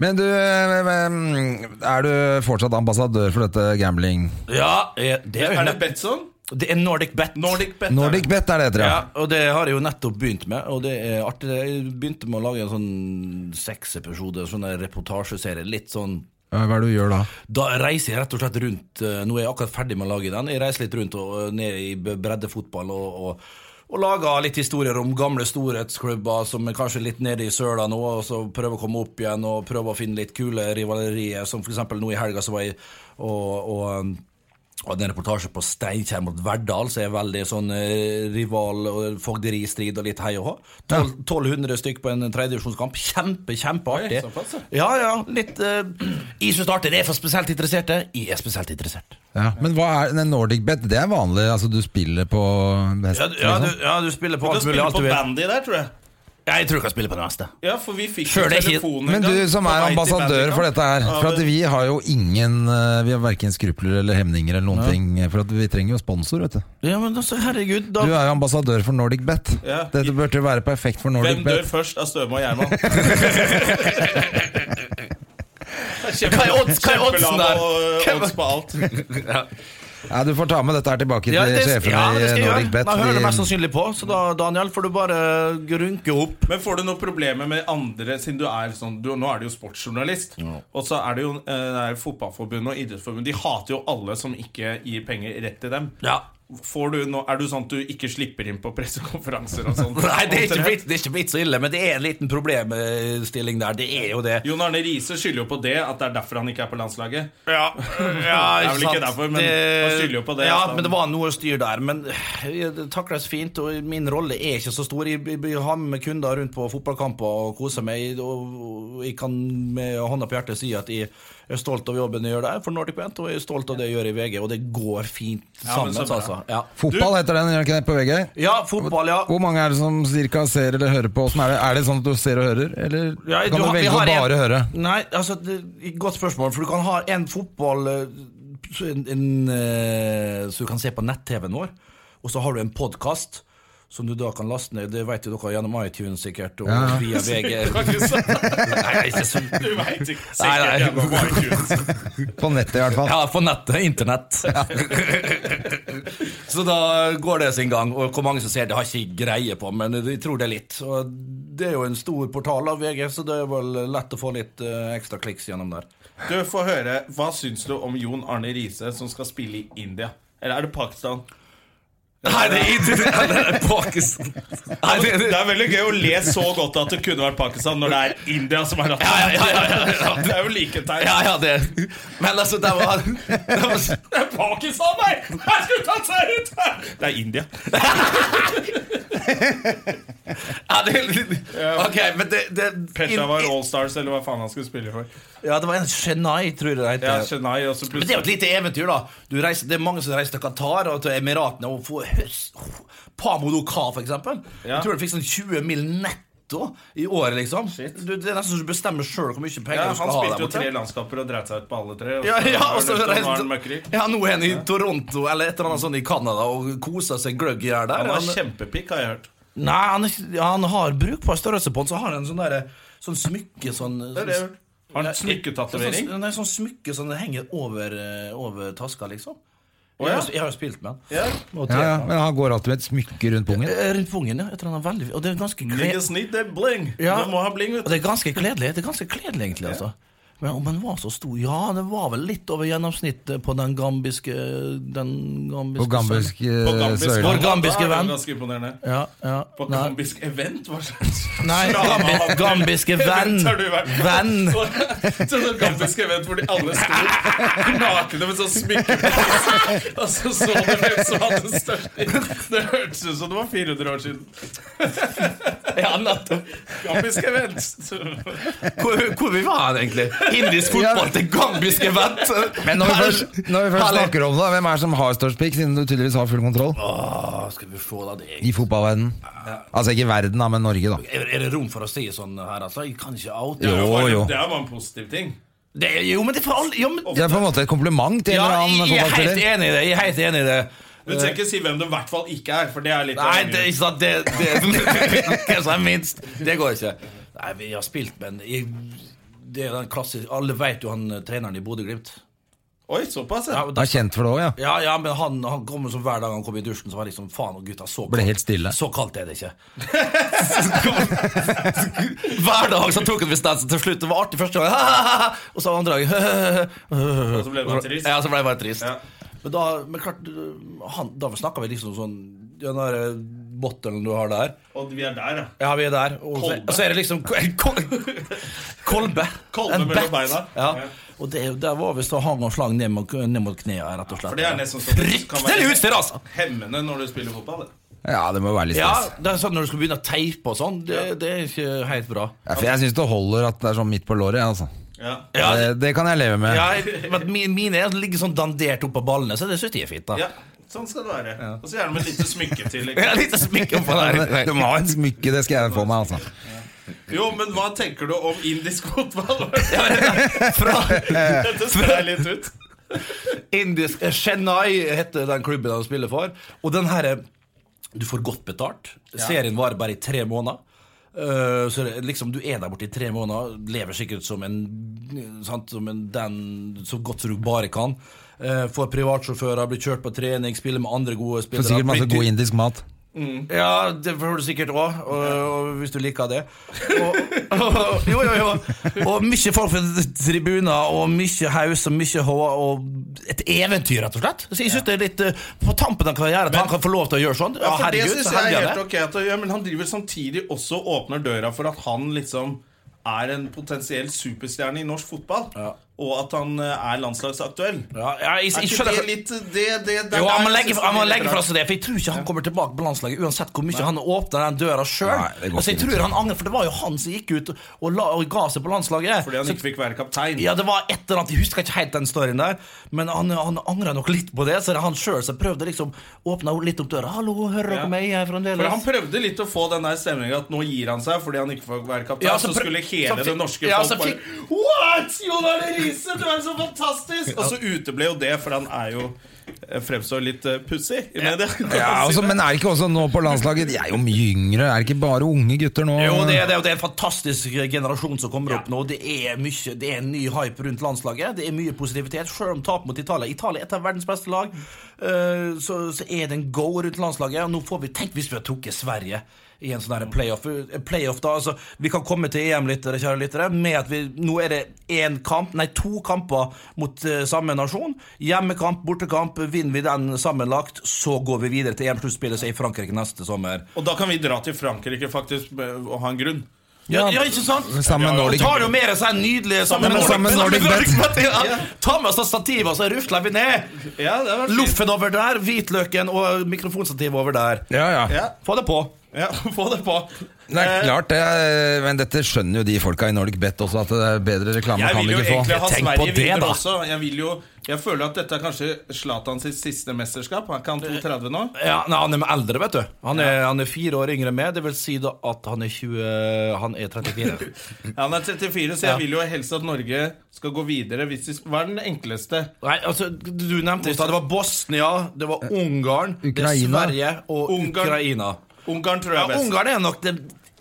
[SPEAKER 2] Men du, eh, er du fortsatt ambassadør for dette gambling?
[SPEAKER 3] Ja, eh, det er, jo
[SPEAKER 1] Er det
[SPEAKER 3] nett-
[SPEAKER 1] Betson?
[SPEAKER 3] det er Nordic Bet.
[SPEAKER 1] Nordic Bet.
[SPEAKER 2] Nordic Bet er det heter,
[SPEAKER 3] Ja,
[SPEAKER 2] ja.
[SPEAKER 3] og det har jeg jo nettopp begynt med, og det er artig. Jeg begynte med å lage en sånn seksepisode, sånn der reportasjeserie. Litt sånn
[SPEAKER 2] Eh, Hva er det du gjør da?
[SPEAKER 3] Da reiser jeg rett og slett rundt eh, Nå er jeg akkurat ferdig med å lage den. Jeg reiser litt rundt og og ned i b- breddefotball og, og, og lager litt historier om gamle storhetsklubber som er kanskje litt nede i søla nå, og så prøver å komme opp igjen og prøver å finne litt kule rivalerier, som f.eks. nå i helga så var jeg og, og um, hadde en reportasje på Steinkjer mot Verdal, som er veldig sånn eh, rival- og fogderistrid og litt hei og hå. Tolv- 1200 stykk på en tredjevisjonskamp. Kjempe, kjempeartig.
[SPEAKER 1] Oi, såpass, ja.
[SPEAKER 3] ja, ja. Litt eh, Jeg som starter, det er for spesielt interesserte. Jeg er spesielt interessert.
[SPEAKER 2] ja. Men hva er nei, Nordic Bet? Det er vanlig, altså du spiller på hest? liksom.
[SPEAKER 3] Ja, du, ja, du, ja, du spiller på
[SPEAKER 1] Du
[SPEAKER 3] Liksom.
[SPEAKER 1] kan
[SPEAKER 3] alt
[SPEAKER 1] spille
[SPEAKER 3] mulig. Alt
[SPEAKER 1] på
[SPEAKER 3] du vil.
[SPEAKER 1] bandy der, tror jeg.
[SPEAKER 3] Ja, jeg tror jeg kan spille på det meste.
[SPEAKER 1] Ja, for vi fikk
[SPEAKER 3] Før
[SPEAKER 1] jo
[SPEAKER 3] det hit.
[SPEAKER 1] telefonen en
[SPEAKER 2] Men du
[SPEAKER 1] gang,
[SPEAKER 2] som
[SPEAKER 1] på
[SPEAKER 2] er
[SPEAKER 1] vei til
[SPEAKER 2] ambassadør
[SPEAKER 1] bandykamp.
[SPEAKER 2] for dette her,
[SPEAKER 1] Ja,
[SPEAKER 2] for at
[SPEAKER 1] det-
[SPEAKER 2] vi har jo ingen eh, Vi har verken skrupler eller hemninger eller noen ting. For at vi trenger jo sponsor, vet du.
[SPEAKER 3] Ja, men altså, herregud, da
[SPEAKER 2] Du er jo ambassadør for Nordic Bet.
[SPEAKER 1] Ja.
[SPEAKER 2] Dette burde jo være perfekt for Nordic
[SPEAKER 1] Hvem dør
[SPEAKER 2] Bet.
[SPEAKER 1] først av Støme og Gjerman?
[SPEAKER 3] Hva er odds- hva er oddsen der? Hvem-
[SPEAKER 1] Odds på alt.
[SPEAKER 2] Ja, du får ta med dette her tilbake til
[SPEAKER 3] ja, det,
[SPEAKER 2] sjefene
[SPEAKER 3] ja, det skal
[SPEAKER 2] i
[SPEAKER 3] jeg
[SPEAKER 2] Nordic
[SPEAKER 3] gjøre.
[SPEAKER 2] Bet.
[SPEAKER 3] Da hører det
[SPEAKER 2] Vi-
[SPEAKER 3] mest sannsynlig på. Så da, Daniel, får du bare eh, grunke opp.
[SPEAKER 1] Men får du noen problemer med andre Siden du er sånn, du, nå er du jo sportsjournalist Og så er det jo eh, det er fotballforbund og idrettsforbund De hater jo alle som ikke gir penger rett til dem
[SPEAKER 3] Ja.
[SPEAKER 1] Får du, nå, er du sånn at du ikke slipper inn på pressekonferanser og sånt?
[SPEAKER 3] Nei, det er, ikke blitt, det er ikke blitt så ille, men det er en liten problemstilling der. Det er jo det.
[SPEAKER 1] Jon Arne Riese skylder jo på det At det er derfor han ikke er på landslaget
[SPEAKER 3] Ja,
[SPEAKER 1] Det er vel ikke derfor, men han skylder jo på det, altså.
[SPEAKER 3] Ja,
[SPEAKER 1] at han-
[SPEAKER 3] men det var noe styr der. Men det takles fint, og min rolle er ikke så stor. Jeg, jeg, jeg har med meg kunder rundt på fotballkamper og koser meg. Og og jeg kan med hånda på hjertet si at jeg er stolt av jobben jeg gjør der for Nordic Bent, og jeg er stolt av det jeg gjør i VG, og det går fint
[SPEAKER 1] Ja, men
[SPEAKER 3] sammen,
[SPEAKER 1] så bra.
[SPEAKER 3] altså. Ja.
[SPEAKER 2] Fotball heter den, gjør den ikke det, på VG?
[SPEAKER 3] ja, fotball, ja.
[SPEAKER 2] Hvor mange er det som cirka ser eller hører på? oss? Er det, er det sånn at du ser og hører, eller
[SPEAKER 3] Ja,
[SPEAKER 2] kan du,
[SPEAKER 3] har- vi
[SPEAKER 2] velge å
[SPEAKER 3] har en-
[SPEAKER 2] bare høre?
[SPEAKER 3] Nei, altså, det, godt spørsmål. For du kan ha en fotball eh, en, en, eh, Så du kan se på nett-TV-en vår, og så har du en podkast. Som du da kan laste ned. Det vet jo dere gjennom iTunes sikkert, og
[SPEAKER 2] Ja.
[SPEAKER 3] via VG.
[SPEAKER 1] Du har ikke sagt-
[SPEAKER 3] Nei, jeg er ikke så...
[SPEAKER 1] Du vet ikke
[SPEAKER 3] Nei, nei.
[SPEAKER 1] sikkert gjennom iTunes.
[SPEAKER 2] På nettet, i hvert fall.
[SPEAKER 3] Ja, på nettet. Internett. så da går det sin gang. Og hvor mange som ser det, har ikke greie på, men de tror det er litt. Og det er jo en stor portal av VG, så det er vel lett å få litt eh, ekstra kliks gjennom der.
[SPEAKER 1] Du får høre, hva synes du om Jon Arne Riese Som skal spille i India? Eller er det Pakistan?
[SPEAKER 3] Nei, det er ikke det er Pakistan. Nei, det,
[SPEAKER 1] Det
[SPEAKER 3] det.
[SPEAKER 1] er veldig gøy å le så godt at det kunne vært Pakistan når det er India som er natta.
[SPEAKER 3] Ja, ja, ja, ja, ja.
[SPEAKER 1] Det er jo like tegn.
[SPEAKER 3] Ja, ja, det Men altså, det var, det var
[SPEAKER 1] Det er Pakistan, nei! Her skulle tatt seg ut! Det er India.
[SPEAKER 3] ja, det, Ok, men det, det
[SPEAKER 1] Peshawar Allstars, eller hva faen han skulle spille for.
[SPEAKER 3] Ja, det var en Chennai, tror jeg det
[SPEAKER 1] Ja,
[SPEAKER 3] heter.
[SPEAKER 1] Chennai, og så
[SPEAKER 3] Men det er
[SPEAKER 1] plutselig
[SPEAKER 3] jo et lite eventyr, da. Du reiser, det er mange som reiser til Qatar og til Emiratene og får høst Pamodoka, for eksempel.
[SPEAKER 1] Ja.
[SPEAKER 3] Jeg tror du fikk sånn 20 mil netto i året, liksom.
[SPEAKER 1] Shit.
[SPEAKER 3] Du, det er nesten så du bestemmer sjøl hvor mye penger
[SPEAKER 1] ja,
[SPEAKER 3] du
[SPEAKER 1] Han
[SPEAKER 3] skal ha
[SPEAKER 1] spilte
[SPEAKER 3] der
[SPEAKER 1] jo tre
[SPEAKER 3] borte.
[SPEAKER 1] landskamper og dreit seg ut på alle tre.
[SPEAKER 3] Ja, ja, og så
[SPEAKER 1] var han ute, og nå er han
[SPEAKER 3] reiste
[SPEAKER 1] møkkrik.
[SPEAKER 3] Ja, nå er han i Toronto eller et eller annet sånt i Canada og koser seg gløgg i her der.
[SPEAKER 1] Han var kjempepikk, har jeg hørt.
[SPEAKER 3] Nei, han, er ikke- han har brukbar størrelse på den, så har han en sånn derre Sånn smykke sånn
[SPEAKER 1] Det er det jeg gjør. Har han smykketatovering?
[SPEAKER 3] Sånn, nei, sånn smykke sånn det henger over, eh, over taska, liksom.
[SPEAKER 1] Å,
[SPEAKER 3] Jeg
[SPEAKER 1] ja.
[SPEAKER 3] har, jeg har jo spilt med han.
[SPEAKER 1] Ja.
[SPEAKER 2] Ja,
[SPEAKER 3] Og trent
[SPEAKER 2] ja,
[SPEAKER 3] med han.
[SPEAKER 2] men han går alltid med et smykke rundt pungen.
[SPEAKER 3] Eh, Rundt pungen, ja. Jeg tror han er veldig Og det er ganske kle-
[SPEAKER 1] Niggas need that bling.
[SPEAKER 3] Ja.
[SPEAKER 1] Du må ha bling, vet
[SPEAKER 3] Og
[SPEAKER 1] du.
[SPEAKER 3] det er ganske kledelig, det er ganske kledelig egentlig altså. Men om den var så stor Ja, den var vel litt over gjennomsnittet på den gambiske Den gambiske
[SPEAKER 2] På gambisk eh,
[SPEAKER 1] På gambisk-
[SPEAKER 2] Sørland.
[SPEAKER 3] Vår gambiske
[SPEAKER 1] Da er det
[SPEAKER 3] venn.
[SPEAKER 1] Ganske imponerende.
[SPEAKER 3] Ja, ja
[SPEAKER 1] På
[SPEAKER 3] Nei,
[SPEAKER 1] gambisk event? Hva slags
[SPEAKER 3] Nei, gambi, gambiske venn
[SPEAKER 1] Har du vært
[SPEAKER 3] Venn
[SPEAKER 1] Så sånn gambisk event hvor de alle sto nakne med sånn smykke på seg, og så så du hvem som hadde den største Det hørtes ut som det var 400 år siden. ja, nettopp. Gambisk event.
[SPEAKER 3] hvor, hvor vi var han egentlig? Indisk fotball til gambisk event
[SPEAKER 2] Men når vi først, når vi først snakker om det, hvem er det som har størst pikk, siden du tydeligvis har full kontroll?
[SPEAKER 3] Åh, skal vi se da det er-
[SPEAKER 2] I fotballverdenen. Altså ikke verden, da, men Norge, da.
[SPEAKER 3] er, er det rom for å si sånn her altså? Jeg kan ikke out
[SPEAKER 2] Jo, jo.
[SPEAKER 1] Det er bare en positiv ting.
[SPEAKER 3] det, er- Jo, men det er for alle ja, men,
[SPEAKER 2] Det er på en måte et kompliment til en
[SPEAKER 3] ja,
[SPEAKER 2] eller annen
[SPEAKER 3] jeg, jeg er helt
[SPEAKER 2] fotballspiller.
[SPEAKER 3] enig i det Jeg er helt enig i det
[SPEAKER 1] Du trenger ikke si hvem du i hvert fall ikke er, for det er litt
[SPEAKER 3] Nei, det er ikke sant. Det, det, hvem som er minst, det går ikke. Nei, vi har spilt, men jeg, det er den klassiske Alle vet jo han eh, treneren i Bodø-Glimt.
[SPEAKER 1] Oi, såpass, ja.
[SPEAKER 3] Ja,
[SPEAKER 2] Han er kjent for det òg, ja.
[SPEAKER 3] ja, ja, men han, han kom jo som hver dag han kom i dusjen, så var det liksom Faen, og gutta, så
[SPEAKER 2] Ble helt stille.
[SPEAKER 3] Så kaldt er det ikke. hver dag så tok han distansen til slutt. Det var artig første gang, og så andre dagen
[SPEAKER 1] Og så ble man trist.
[SPEAKER 3] Ja, så ble det bare trist.
[SPEAKER 1] Ja.
[SPEAKER 3] Men, da, men klart, han, da snakka vi liksom sånn Den der bottelen du har der.
[SPEAKER 1] Og vi er der, ja.
[SPEAKER 3] Ja, vi er der. Og så,
[SPEAKER 1] Kolbe.
[SPEAKER 3] og så er det liksom kol, Kolbe.
[SPEAKER 1] Kolbe
[SPEAKER 3] En
[SPEAKER 1] mellom
[SPEAKER 3] bat.
[SPEAKER 1] beina.
[SPEAKER 3] Ja.
[SPEAKER 1] Ja.
[SPEAKER 3] Og det, er jo- der var visst og hang og slang ned mot, ned mot knærne, rett og slett.
[SPEAKER 1] For det er nesten sånn at det kan
[SPEAKER 3] Fryktelig utstyr, altså!
[SPEAKER 1] hemmende når du spiller fotball. Det.
[SPEAKER 2] Ja, det må være litt
[SPEAKER 3] Ja,
[SPEAKER 2] stress.
[SPEAKER 3] det er sånn Når du skal begynne å teipe og sånn, det, det er ikke helt bra.
[SPEAKER 2] Ja, for jeg syns det holder at det er sånn midt på låret. ja, Altså.
[SPEAKER 1] Ja.
[SPEAKER 3] Ja,
[SPEAKER 2] Det, det kan jeg leve med.
[SPEAKER 3] ja, men mi- Mine er- ligger sånn dandert oppå ballene, så det syns jeg er fint. da
[SPEAKER 1] ja, sånn skal det være. Og så gjerne med et lite smykke til.
[SPEAKER 3] Jeg
[SPEAKER 1] Ikke?
[SPEAKER 3] har litt smykke oppå
[SPEAKER 2] Men Du
[SPEAKER 3] der.
[SPEAKER 2] må ha en smykke, det skal jeg få meg, altså.
[SPEAKER 1] Jo, men hva tenker du om indisk fotball?
[SPEAKER 3] Fra
[SPEAKER 1] Dette spør jeg litt ut.
[SPEAKER 3] Indisk eh, Chennai heter den klubben han spiller for. Og den herre Du får godt betalt. Serien varer bare i tre måneder. Eh, så det, er liksom Du er der borte i tre måneder, lever sikkert som en, sant, som en den så godt som du bare kan. Eh, får privatsjåfører, blir kjørt på trening, spiller med andre gode spillere.
[SPEAKER 2] Får sikkert masse
[SPEAKER 3] blir
[SPEAKER 2] god
[SPEAKER 3] dyr-
[SPEAKER 2] indisk mat.
[SPEAKER 3] ja, det får du sikkert òg, og, og hvis du liker det. Og, og, jo, jo, jo. og mye folk fra tribuner, og mye haus og mye hå, og et eventyr, rett og slett. Så jeg synes det er litt eh, På tampen av karrieren at han kan få lov til å gjøre sånn. Ja,
[SPEAKER 1] Ja, for
[SPEAKER 3] herregud,
[SPEAKER 1] det
[SPEAKER 3] så
[SPEAKER 1] synes jeg
[SPEAKER 3] heldig
[SPEAKER 1] er
[SPEAKER 3] han
[SPEAKER 1] helt
[SPEAKER 3] er.
[SPEAKER 1] ok at, ja, Men han driver samtidig også og åpner døra for at han liksom er en potensiell superstjerne i norsk fotball. Og at han eh, er landslagsaktuell.
[SPEAKER 3] Ja, ja,
[SPEAKER 1] Er
[SPEAKER 3] jeg, jeg
[SPEAKER 1] ikke
[SPEAKER 3] skjønner
[SPEAKER 1] det litt det, det, det
[SPEAKER 3] jo, han må
[SPEAKER 1] der
[SPEAKER 3] legge,
[SPEAKER 1] synes jeg
[SPEAKER 3] han må
[SPEAKER 1] er litt sånn
[SPEAKER 3] legge fra
[SPEAKER 1] rart.
[SPEAKER 3] seg det, for jeg tror ikke han kommer tilbake på landslaget uansett hvor mye han åpner den døra sjøl.
[SPEAKER 2] Nei, det går
[SPEAKER 3] Altså, jeg
[SPEAKER 2] ikke.
[SPEAKER 3] tror han angrer, for det var jo han som gikk ut og, la, og ga seg på landslaget.
[SPEAKER 1] Fordi han ikke fikk være kaptein.
[SPEAKER 3] Ja, det var et eller annet, Jeg husker ikke helt den storyen der, men han, han angra nok litt på det. Så det er han sjøl som prøvde liksom åpna litt opp døra. 'Hallo, hører dere
[SPEAKER 1] Ja.
[SPEAKER 3] meg? Jeg er
[SPEAKER 1] For Han
[SPEAKER 3] fremdeles
[SPEAKER 1] prøvde litt å få den der stemninga at nå gir han seg fordi han ikke får være kaptein.
[SPEAKER 3] Ja,
[SPEAKER 1] så,
[SPEAKER 3] så prøv-
[SPEAKER 1] skulle hele
[SPEAKER 3] så fikk-
[SPEAKER 1] det norske
[SPEAKER 3] ja, så
[SPEAKER 1] folk bare
[SPEAKER 3] fikk-
[SPEAKER 1] What?! Jon Arne Riise, du er så fantastisk! Og så uteble jo det, for han er jo fremstår litt uh, pussig i media. kan man
[SPEAKER 2] Ja,
[SPEAKER 1] si
[SPEAKER 2] altså,
[SPEAKER 1] det.
[SPEAKER 2] men er det ikke også nå på landslaget De er jo mye yngre, er det ikke bare unge gutter nå?
[SPEAKER 3] jo, det er, det, er- det er en fantastisk generasjon som kommer opp nå. Det er mye, det er en ny hype rundt landslaget. Det er mye positivitet, sjøl om tap mot Italia. Italia er et av verdens beste lag. Eh, så, så er det en go rundt landslaget. Og nå får vi, Tenk hvis vi hadde trukket Sverige i en sånn her playoff. Eh, playoff da, altså, vi kan komme til EM-lyttere, kjære lyttere, med at vi, nå er det en kamp, nei, to kamper mot eh, samme nasjon. Hjemmekamp, bortekamp. Vinner vi den sammenlagt, så går vi videre til EM-sluttspillet som er i Frankrike neste sommer.
[SPEAKER 1] Og da kan vi dra til Frankrike faktisk med- og ha en grunn.
[SPEAKER 3] Ja, ja, ikke sant?
[SPEAKER 2] Sammen med
[SPEAKER 3] ja,
[SPEAKER 2] Nordic.
[SPEAKER 3] Og tar jo med oss den nydelige
[SPEAKER 2] Sammen med Nordic
[SPEAKER 3] Bet. Ja. Ta med oss det stativet, og så rusler vi ned.
[SPEAKER 1] Ja, det var
[SPEAKER 3] Loffen over der, hvitløken og mikrofonstativet over der.
[SPEAKER 2] Ja, ja.
[SPEAKER 1] Ja,
[SPEAKER 3] Få det på.
[SPEAKER 1] ja, få det på.
[SPEAKER 2] Det er
[SPEAKER 1] Eh,
[SPEAKER 2] klart, det. er- Men dette skjønner jo de folka i Nordic Bet også, at det er bedre reklame
[SPEAKER 1] Jeg
[SPEAKER 2] kan
[SPEAKER 1] vil
[SPEAKER 2] vi
[SPEAKER 1] jo
[SPEAKER 2] ikke
[SPEAKER 1] egentlig
[SPEAKER 2] få.
[SPEAKER 1] ha
[SPEAKER 3] Tenk på
[SPEAKER 1] Sverige
[SPEAKER 3] det,
[SPEAKER 1] videre
[SPEAKER 3] da.
[SPEAKER 1] også. Jeg, vil jo, jeg føler at dette er kanskje Zlatan sitt siste mesterskap. Han kan 32 nå.
[SPEAKER 3] Ja, nei, han er med eldre, vet du. Han er, han er fire år yngre enn meg. Det vil si da at han er 20 Han er 34.
[SPEAKER 1] Ja, Han er 34, så jeg vil jo helst at Norge skal gå videre. Hvis de, hva er den enkleste?
[SPEAKER 3] Nei, altså, Du nevnte i stad det var Bosnia, det var Ungarn, det
[SPEAKER 2] Ukraina.
[SPEAKER 3] er Sverige og
[SPEAKER 1] Ungarn.
[SPEAKER 3] Ukraina.
[SPEAKER 1] Ungarn tror jeg
[SPEAKER 3] Ja,
[SPEAKER 1] er best.
[SPEAKER 3] Ungarn er nok det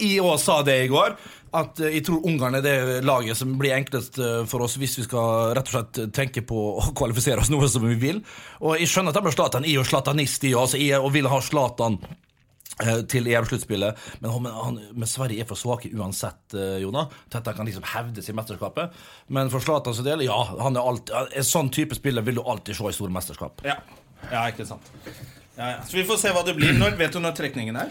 [SPEAKER 3] IÅ sa det i går. At eh, jeg tror Ungarn er det laget som blir enklest eh, for oss hvis vi skal rett og slett tenke på å kvalifisere oss noe som vi vil. Og jeg skjønner at de er Zlatan. Jeg er jo zlatanist, jeg, altså, jeg er- og vil ha Zlatan eh, til EM-sluttspillet, men han, han, men Sverige er for svake uansett, eh, Jonah. Til at de kan liksom hevde seg i mesterskapet. Men for Zlatans del, ja. Han er alt, en sånn type spiller vil du alltid se i store mesterskap.
[SPEAKER 1] Ja. ja, ikke sant. Ja, ja. Så vi får se hva det blir. Når, vet du når trekningen er?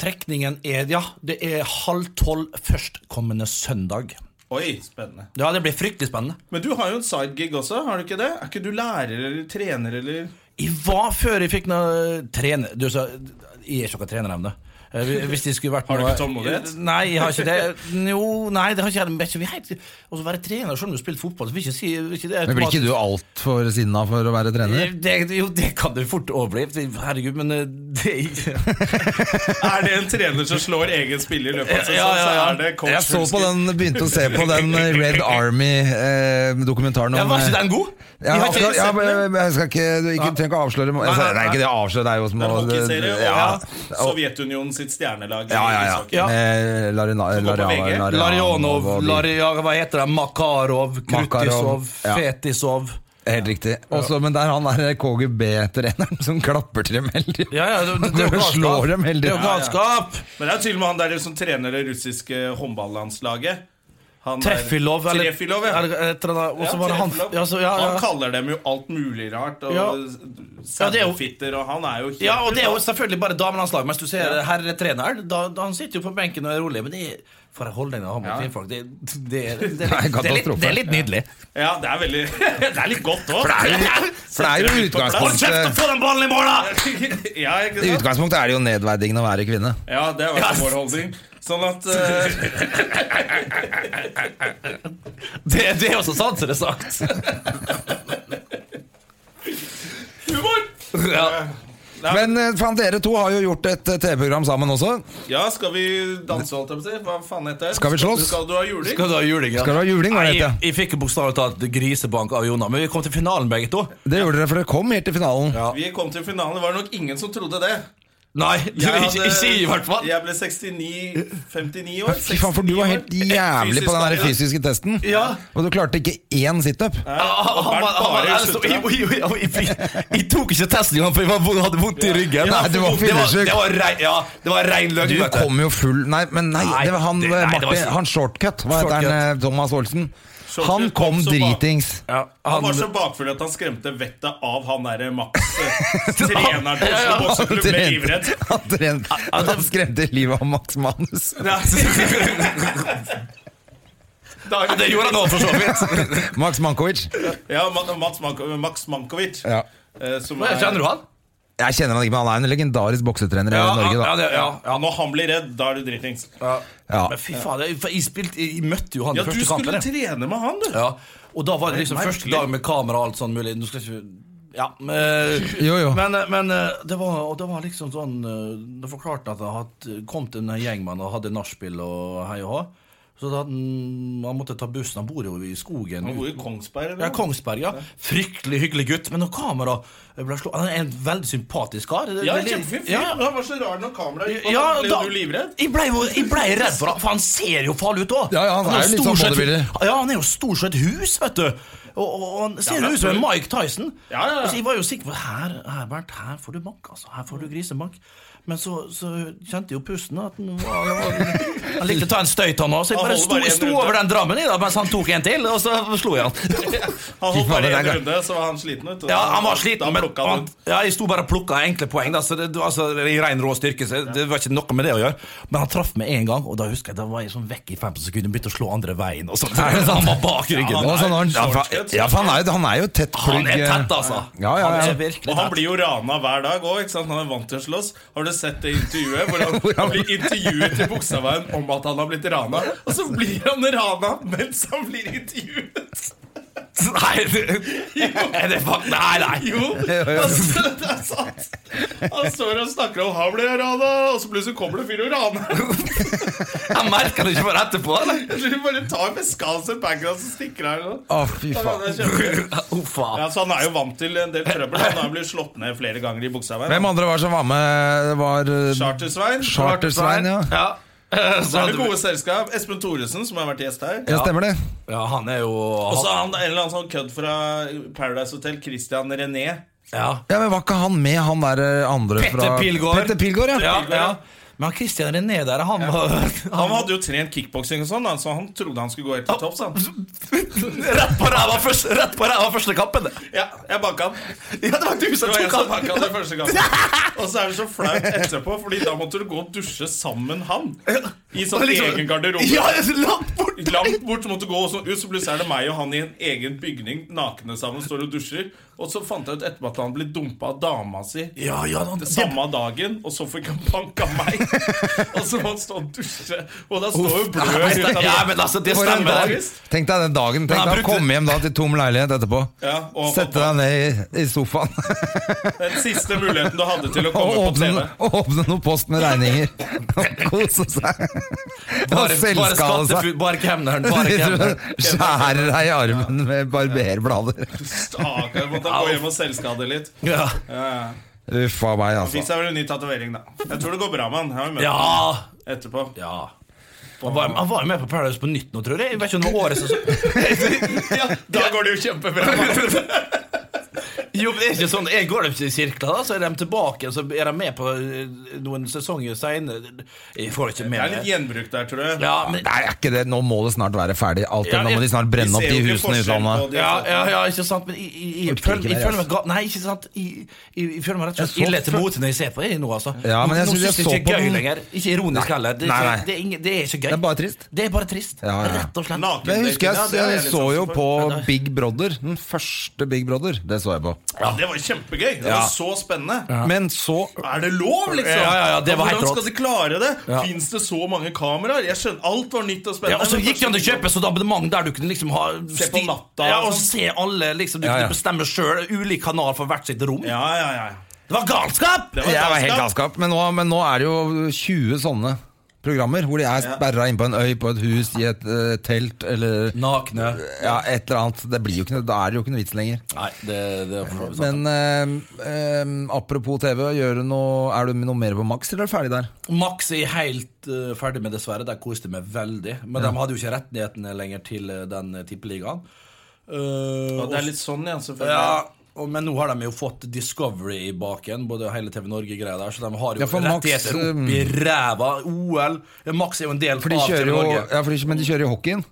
[SPEAKER 3] Trekningen er, ja, det er halv tolv førstkommende søndag.
[SPEAKER 1] Oi, spennende.
[SPEAKER 3] Ja, det blir fryktelig spennende.
[SPEAKER 1] Men du har jo en sidegig også, har du ikke det? Er ikke du lærer eller trener eller
[SPEAKER 3] Jeg var før jeg fikk noe trener... Du sa Jeg er ikke noe trenerevne. Eh, Hvis jeg skulle vært
[SPEAKER 1] Har du
[SPEAKER 3] noe-
[SPEAKER 1] ikke tålmodighet?
[SPEAKER 3] Nei, jeg har ikke det. Jo, nei, det har ikke jeg. Men ikke vi er helt- Og så være trener selv om du har spilt fotball, så vil ikke si vil ikke det Eh,
[SPEAKER 2] Men blir ikke du altfor sinna for å være trener?
[SPEAKER 3] det, jo, det kan du fort overbli. Herregud, men eh, det
[SPEAKER 1] Er det en trener som slår egen spiller i løpet av sesongen,
[SPEAKER 3] Ja, ja, ja.
[SPEAKER 1] så er det coach
[SPEAKER 2] Jeg så på
[SPEAKER 1] Hulsker.
[SPEAKER 2] den, begynte å se på den Red Army-dokumentaren
[SPEAKER 3] ja,
[SPEAKER 2] om eh,
[SPEAKER 3] Var ikke den god?
[SPEAKER 2] Ja,
[SPEAKER 3] Jeg har ikke
[SPEAKER 2] akkurat, ja,
[SPEAKER 3] sett
[SPEAKER 2] men,
[SPEAKER 3] den.
[SPEAKER 2] men jeg skal ikke, du ikke, trenger ikke å avsløre må-
[SPEAKER 3] Nei, nei,
[SPEAKER 2] altså, Nei,
[SPEAKER 3] nei.
[SPEAKER 2] ikke det å avsløre, det er jo som
[SPEAKER 1] Det er
[SPEAKER 2] å
[SPEAKER 1] en hockeyserie og
[SPEAKER 2] ja, og-
[SPEAKER 1] Sovjetunionen sitt stjernelag. i
[SPEAKER 2] ja, ja, Eh,
[SPEAKER 1] ishockey.
[SPEAKER 2] ja.
[SPEAKER 3] Ja.
[SPEAKER 2] Med Larina,
[SPEAKER 1] Som går på
[SPEAKER 2] Larina-
[SPEAKER 1] VG.
[SPEAKER 2] Larina-
[SPEAKER 3] Larionov,
[SPEAKER 2] og de-
[SPEAKER 3] Laria, hva heter det? Makarov,
[SPEAKER 2] Makarov,
[SPEAKER 3] Krutisov,
[SPEAKER 2] ja.
[SPEAKER 3] Fetisov
[SPEAKER 2] Helt riktig. Også, men det er han der KGB-treneren som klapper til dem hele tiden.
[SPEAKER 3] Ja, ja, det, det, det er jo galskap.
[SPEAKER 2] Slår dem hele tiden.
[SPEAKER 3] Det er jo galskap.
[SPEAKER 1] Men det er jo til og med han der som trener det russiske håndballandslaget. Han der-
[SPEAKER 3] Treffilov, eller
[SPEAKER 1] Trefilov, ja.
[SPEAKER 3] eller et eller annet, og så
[SPEAKER 1] Ja,
[SPEAKER 3] var det han
[SPEAKER 1] Trefilov.
[SPEAKER 3] ja, så, ja,
[SPEAKER 1] Han
[SPEAKER 3] ja.
[SPEAKER 1] kaller dem jo alt mulig rart. Og
[SPEAKER 3] Ja. Ja, det er jo-
[SPEAKER 1] Sauefitter, og han er jo helt
[SPEAKER 3] ja, og det er jo selvfølgelig bare damelandslag, mens du ser herretreneren. Da, da han sitter jo på benken og er rolig, men det er for en holdning han har mot kvinnfolk. Det, det, er-
[SPEAKER 2] Nei,
[SPEAKER 3] det, er- det, er litt-
[SPEAKER 2] katastrofe.
[SPEAKER 3] det er litt nydelig.
[SPEAKER 1] Ja, det er veldig Det er litt godt òg.
[SPEAKER 2] For det er jo- for det er jo
[SPEAKER 3] Hold kjeft og
[SPEAKER 2] utgangspunktet
[SPEAKER 3] få den ballen i mål, da!
[SPEAKER 1] ja, ikke
[SPEAKER 2] I
[SPEAKER 1] sant?
[SPEAKER 2] utgangspunktet er det jo nedverdigende å være kvinne.
[SPEAKER 1] Ja, det er i hvert fall vår holdning. Sånn at eh,
[SPEAKER 3] Det, det er også sant, som det er sagt.
[SPEAKER 1] Humor!
[SPEAKER 3] Ja.
[SPEAKER 2] Men eh, faen, dere to har jo gjort et eh, TV-program sammen også.
[SPEAKER 1] Ja, skal vi danse, holdt jeg på å si? Hva faen heter det?
[SPEAKER 2] Skal vi slåss?
[SPEAKER 1] Skal du ha juling?
[SPEAKER 3] Skal du ha juling? Ja?
[SPEAKER 2] Skal du ha juling, hva
[SPEAKER 3] Nei,
[SPEAKER 2] heter
[SPEAKER 3] jeg,
[SPEAKER 2] det?
[SPEAKER 3] jeg fikk jo bokstavelig talt grisebank av Jonna, men vi kom til finalen begge to.
[SPEAKER 2] Det gjorde dere, for dere kom helt til finalen.
[SPEAKER 1] Vi kom til finalen. Det var nok ingen som trodde det.
[SPEAKER 3] Nei, du, ikke, ikke i hvert fall.
[SPEAKER 1] Jeg ble 69 59 år.
[SPEAKER 2] Fy faen, for du
[SPEAKER 1] 69
[SPEAKER 2] var
[SPEAKER 1] år.
[SPEAKER 2] helt jævlig på den der fysiske testen.
[SPEAKER 3] Ja.
[SPEAKER 2] Og du klarte ikke én situp.
[SPEAKER 1] Ja, og
[SPEAKER 3] Han
[SPEAKER 1] Bernt
[SPEAKER 3] var- han var-
[SPEAKER 1] bare
[SPEAKER 3] altså,
[SPEAKER 1] slutter.
[SPEAKER 3] jeg- jeg- jeg- jeg- jeg- Jeg tok ikke testen engang, for jeg var- hadde vondt i ryggen.
[SPEAKER 2] Nei, du var
[SPEAKER 3] det var,
[SPEAKER 2] fyllesyk.
[SPEAKER 3] det var rein, ja, det var rein løgn.
[SPEAKER 2] Du
[SPEAKER 3] vet
[SPEAKER 2] kom jo full Nei, men nei,
[SPEAKER 3] Nei,
[SPEAKER 2] det var han eh,
[SPEAKER 3] det- nei, det var
[SPEAKER 2] Martin,
[SPEAKER 3] ikke-
[SPEAKER 2] han Shortcut. Hva heter han? eh, Thomas Olsen.
[SPEAKER 1] Shortcut
[SPEAKER 2] Han kom
[SPEAKER 1] kom så bra.
[SPEAKER 2] dritings.
[SPEAKER 3] Ja,
[SPEAKER 1] Han
[SPEAKER 3] han,
[SPEAKER 1] var så bakfull at han skremte vettet av han derre Max, eh, treneren til Oslo
[SPEAKER 2] Han
[SPEAKER 1] Bokseklubb, ble
[SPEAKER 2] trente-
[SPEAKER 1] livredd.
[SPEAKER 2] han trente- Han skremte livet av Max Manus.
[SPEAKER 3] Ja, det gjorde han også, for så vidt.
[SPEAKER 2] Max Mankovic.
[SPEAKER 1] Ja, Ma- Mats Manko, Max Mankovic.
[SPEAKER 2] Ja.
[SPEAKER 1] eh, Som
[SPEAKER 3] Men Kjenner du han?
[SPEAKER 2] Jeg kjenner han ikke, men han er en legendarisk boksetrener i Norge.
[SPEAKER 3] ja,
[SPEAKER 2] da
[SPEAKER 3] det, ja.
[SPEAKER 1] Ja, når han blir redd, da er du dritings.
[SPEAKER 2] ja.
[SPEAKER 3] Men fy faen, jeg, for jeg, spilte, jeg jeg møtte jo han
[SPEAKER 1] Ja,
[SPEAKER 3] i
[SPEAKER 1] du
[SPEAKER 3] første kampen.
[SPEAKER 1] skulle
[SPEAKER 3] jeg.
[SPEAKER 1] trene med han, du.
[SPEAKER 3] Ja, og da var det liksom
[SPEAKER 1] Nei,
[SPEAKER 3] første
[SPEAKER 1] merkelig.
[SPEAKER 3] dag med kamera og alt sånn mulig. Nå skal ikke ja, men,
[SPEAKER 2] Jo, jo.
[SPEAKER 3] men, eh, men det var, og det var liksom sånn eh, Da forklarte han at det hadde kommet en gjeng med han og hadde nachspiel og hei og hå. Så da hadde han, han måtte ta bussen. Han bor jo i skogen.
[SPEAKER 1] Han
[SPEAKER 3] ut-
[SPEAKER 1] bor i Kongsberg.
[SPEAKER 3] ja,
[SPEAKER 1] eller?
[SPEAKER 3] Kongsberg, ja. Fryktelig hyggelig gutt. Men når kamera ble slå Han er en veldig sympatisk kar. Det-
[SPEAKER 1] Ja,
[SPEAKER 3] det-
[SPEAKER 1] kjempefin fyr.
[SPEAKER 3] Ja,
[SPEAKER 1] Men Han var så rar når kameraet gikk på.
[SPEAKER 3] ja,
[SPEAKER 1] ble
[SPEAKER 3] da,
[SPEAKER 1] du livredd?
[SPEAKER 3] Jeg blei ble redd for han, for han ser jo farlig ut òg.
[SPEAKER 2] Ja, ja, han er jo litt sånn bodybuilder.
[SPEAKER 3] Ja, han er jo stor som et hus, vet du. Og, og, og han ser
[SPEAKER 1] Ja, men-
[SPEAKER 3] jo ut som en Mike Tyson.
[SPEAKER 1] Ja, ja, ja.
[SPEAKER 3] Så jeg var jo sikker på her, Herbert, her får du bank, altså. Her får du grisebank. Men så, så kjente jeg jo pusten. da, At den var, han likte å ta en støyt, han òg. Så jeg
[SPEAKER 1] Han
[SPEAKER 3] bare
[SPEAKER 1] holder
[SPEAKER 3] sto,
[SPEAKER 1] bare en
[SPEAKER 3] jeg sto
[SPEAKER 1] runde.
[SPEAKER 3] over den drammen i da, mens han tok en til, og så slo jeg han.
[SPEAKER 1] Han holdt
[SPEAKER 2] faen,
[SPEAKER 1] bare
[SPEAKER 2] det er
[SPEAKER 1] en
[SPEAKER 2] gøy.
[SPEAKER 1] runde, så var han sliten. Vet, du.
[SPEAKER 3] Ja, han var
[SPEAKER 1] Da
[SPEAKER 3] sliten, men
[SPEAKER 1] plukket han
[SPEAKER 3] han,
[SPEAKER 1] ut.
[SPEAKER 3] ja, jeg sto bare og plukka enkle poeng. Da, så det, det- altså, I ren rå styrke. Så det var ikke noe med det å gjøre. Men han traff meg én gang, og da husker jeg da var jeg sånn vekk i 15 sekunder og begynte å slå andre veien. Og så, han var bak ryggen.
[SPEAKER 2] Og sånn, han, ja, for, ja, for han er jo, han er jo tett
[SPEAKER 3] han
[SPEAKER 2] plugg.
[SPEAKER 3] er
[SPEAKER 2] eh,
[SPEAKER 3] tett, altså.
[SPEAKER 2] Ja, ja, ja.
[SPEAKER 3] Han er virkelig
[SPEAKER 1] Og han
[SPEAKER 3] tett.
[SPEAKER 1] blir jo rana hver dag òg. Han er vant til å slåss. Har du sett det intervjuet hvor han,
[SPEAKER 2] Hvor han-
[SPEAKER 1] han blir intervjuet i Bogstadveien om at han har blitt rana? Og så blir han rana mens han blir intervjuet!
[SPEAKER 3] Nei, det, er det fuck, nei, nei.
[SPEAKER 1] Jo, altså, det er sant. Han står og snakker om 'her ble jeg rana', og så plutselig kommer det en fyr og raner ham.
[SPEAKER 3] Jeg merker det ikke bare etterpå. eller?
[SPEAKER 1] Jeg tror vi bare tar Vescans og Pancras og stikker her. nå.
[SPEAKER 2] eh, Å, fy
[SPEAKER 1] Da kan
[SPEAKER 2] faen.
[SPEAKER 1] jeg kjøpe.
[SPEAKER 3] Oh, faen.
[SPEAKER 1] Ja, så Han er jo vant til en del trøbbel. Han har blitt slått ned flere ganger i
[SPEAKER 2] Hvem
[SPEAKER 1] Bukseveien.
[SPEAKER 2] andre var som var med? Det var eh,
[SPEAKER 1] Chartersvein.
[SPEAKER 2] Chartersvein, ja.
[SPEAKER 3] Ja. Eh,
[SPEAKER 1] Så
[SPEAKER 3] Så
[SPEAKER 1] er det
[SPEAKER 3] hadde vi,
[SPEAKER 1] gode selskap. Espen Thoresen, som har vært gjest her.
[SPEAKER 2] Ja, stemmer det.
[SPEAKER 3] ja, han er jo
[SPEAKER 1] Og så
[SPEAKER 3] han,
[SPEAKER 1] er han en eller annen sånn kødd fra Paradise Hotel, Christian René.
[SPEAKER 3] ja.
[SPEAKER 2] Ja, men Var ikke han med, han der eh, andre
[SPEAKER 3] Petter
[SPEAKER 2] fra
[SPEAKER 3] Pilgaard.
[SPEAKER 2] Petter Pilgaard, ja.
[SPEAKER 3] Ja, ja. Men han Christian René der, han var
[SPEAKER 1] Han hadde jo trent kickboksing og sånn, da, så han trodde han skulle gå helt til topps. han.
[SPEAKER 3] Rett på ræva først- rett på ræva første kappen!
[SPEAKER 1] Ja, jeg banka han.
[SPEAKER 3] Ja, det var du
[SPEAKER 1] Det
[SPEAKER 3] som
[SPEAKER 1] var jeg
[SPEAKER 3] tok
[SPEAKER 1] som
[SPEAKER 3] han!
[SPEAKER 1] banka han den første gangen. Og så er det så flaut etterpå, Fordi da måtte du gå og dusje sammen han. I sånn
[SPEAKER 3] Liksom-
[SPEAKER 1] egen garderobe.
[SPEAKER 3] Ja, det er så langt bort!
[SPEAKER 1] Langt bort måtte gå, og så, ut, så plutselig er det meg og han i en egen bygning, nakne sammen, står og dusjer. Og så fant jeg ut etterpå at han ble dumpa av dama si.
[SPEAKER 3] Ja, ja, han,
[SPEAKER 1] Det samme dagen, og så fikk han banka meg. og så må han stå og dusje. Og da står jo blød ut av
[SPEAKER 3] ja, men altså, det
[SPEAKER 1] For en
[SPEAKER 3] stemmer.
[SPEAKER 1] dag.
[SPEAKER 3] det.
[SPEAKER 2] Tenk deg den dagen. Tenk
[SPEAKER 3] Men han
[SPEAKER 2] deg å
[SPEAKER 3] brukte-
[SPEAKER 2] komme hjem da til tom leilighet etterpå.
[SPEAKER 1] Ja, og-
[SPEAKER 2] Sette deg ned i, i sofaen
[SPEAKER 1] Den siste muligheten du hadde til å
[SPEAKER 2] og
[SPEAKER 1] komme på TV.
[SPEAKER 2] åpne, og åpne noe post med regninger. Og kose seg. Og
[SPEAKER 3] Bare, bare
[SPEAKER 2] selvskade seg.
[SPEAKER 3] skattefu- Bare kemneren. Bare kemneren.
[SPEAKER 2] Skjærer deg i armen med barberblader.
[SPEAKER 1] Stakkar, måtte han gå hjem og selvskade litt.
[SPEAKER 3] Ja.
[SPEAKER 2] Uff a meg,
[SPEAKER 1] Fikk
[SPEAKER 2] altså.
[SPEAKER 1] seg vel en ny tatovering, da. Jeg tror det går bra med han. Jeg har jo møtt
[SPEAKER 3] ja.
[SPEAKER 1] han etterpå.
[SPEAKER 3] ja. Han var, han var jo med på Paradise på nytt nå, tror jeg. Jeg vet ikke om det var årets sesong.
[SPEAKER 1] Da går det jo kjempebra.
[SPEAKER 3] Jo, men det er ikke sånn Jeg går dem ikke i sirkler, da, så er de tilbake, så er de med på eh, noen sesonger seinere. Jeg får
[SPEAKER 1] Det
[SPEAKER 3] ikke
[SPEAKER 1] er
[SPEAKER 3] med
[SPEAKER 1] litt
[SPEAKER 3] meg.
[SPEAKER 1] gjenbruk der, tror jeg.
[SPEAKER 3] Ja, men
[SPEAKER 2] Nei, er ikke det. Nå må det snart være ferdig. Alt det.
[SPEAKER 3] Ja,
[SPEAKER 2] Nå må de snart brenne opp de husene i utlandet.
[SPEAKER 1] Ja,
[SPEAKER 3] ja, ja, ja, ikke sant, men jeg, jeg, jeg,
[SPEAKER 2] Orker
[SPEAKER 3] føler-
[SPEAKER 2] ikke
[SPEAKER 3] jeg
[SPEAKER 2] mer,
[SPEAKER 3] føler meg
[SPEAKER 2] altså.
[SPEAKER 3] ga- Nei, ikke sant. Jeg, jeg, jeg føler meg rett og
[SPEAKER 2] Jeg
[SPEAKER 3] slett
[SPEAKER 2] så
[SPEAKER 3] ille til
[SPEAKER 2] før-
[SPEAKER 3] mote når jeg ser på det nå, altså.
[SPEAKER 2] Ja, men jeg
[SPEAKER 3] nå
[SPEAKER 2] synes jeg
[SPEAKER 3] synes det
[SPEAKER 2] så på
[SPEAKER 3] ikke er gøy
[SPEAKER 2] den-
[SPEAKER 3] lenger. Ikke ironisk heller. Det, er
[SPEAKER 2] Nei,
[SPEAKER 3] ikke-
[SPEAKER 2] nei.
[SPEAKER 3] Det, er ingen, det er ikke gøy.
[SPEAKER 2] Det er bare trist.
[SPEAKER 3] Det er bare trist.
[SPEAKER 2] Ja, ja.
[SPEAKER 3] Rett og slett.
[SPEAKER 1] Naken-
[SPEAKER 2] Men jeg husker
[SPEAKER 1] Ja,
[SPEAKER 2] jeg,
[SPEAKER 1] det er
[SPEAKER 2] jeg
[SPEAKER 1] litt
[SPEAKER 2] så
[SPEAKER 1] sånn
[SPEAKER 2] jo
[SPEAKER 1] for-
[SPEAKER 2] på Big Brother. Den første Big Brother. Det så jeg på.
[SPEAKER 1] Ja, Det var jo kjempegøy. Det var
[SPEAKER 2] Ja.
[SPEAKER 1] så spennende.
[SPEAKER 2] Men så
[SPEAKER 1] Er det lov, liksom?
[SPEAKER 3] Ja, ja, ja, det var helt
[SPEAKER 1] Hvordan skal
[SPEAKER 3] rått.
[SPEAKER 1] de klare det?
[SPEAKER 3] Ja.
[SPEAKER 1] Fins det så mange kameraer? Jeg skjønner, Alt var nytt og
[SPEAKER 3] Ja,
[SPEAKER 1] spennende.
[SPEAKER 3] og så
[SPEAKER 1] men
[SPEAKER 3] gikk det an å
[SPEAKER 1] kanskje-
[SPEAKER 3] kjøpe sånn abonnement der du kunne liksom ha
[SPEAKER 1] Se på
[SPEAKER 3] sti-
[SPEAKER 1] natta,
[SPEAKER 3] Ja,
[SPEAKER 1] og
[SPEAKER 3] og
[SPEAKER 1] sånn.
[SPEAKER 3] se alle, liksom. Du
[SPEAKER 2] Ja, ja.
[SPEAKER 3] kunne bestemme sjøl. Ulik kanal for hvert sitt rom.
[SPEAKER 1] Ja, ja, ja.
[SPEAKER 3] Det var galskap!
[SPEAKER 1] Det
[SPEAKER 2] Jeg var helt
[SPEAKER 1] galskap.
[SPEAKER 2] galskap. Men nå, men nå er det jo 20 sånne programmer hvor de er sperra inn på en øy, på et hus, i et eh, telt eller
[SPEAKER 3] Nakne.
[SPEAKER 2] ja, et eller annet. Det blir jo ikke, noe- da er det jo ikke noe vits lenger.
[SPEAKER 3] Nei, det, det er for så vidt sant.
[SPEAKER 2] Men eh, eh, apropos TV, gjør du noe, er du noe mer på maks, eller er du ferdig der?
[SPEAKER 3] Max er helt eh, ferdig med dessverre. Der koste jeg meg veldig. Men de hadde jo ikke rettighetene lenger til eh, den eh, tippeligaen. Eh,
[SPEAKER 1] Ja, Det er litt
[SPEAKER 3] og-
[SPEAKER 1] sånn, ja, selvfølgelig.
[SPEAKER 3] ja, og, men nå har de jo fått Discovery i baken, både hele TV Norge-greia der, så de har jo
[SPEAKER 2] Ja, for Max,
[SPEAKER 3] rettigheter
[SPEAKER 2] mm.
[SPEAKER 3] opp i ræva. OL eh, Max er jo en del
[SPEAKER 2] For de
[SPEAKER 3] av TV
[SPEAKER 2] kjører jo,
[SPEAKER 3] Norge.
[SPEAKER 2] ja, for de, men de kjører jo hockeyen.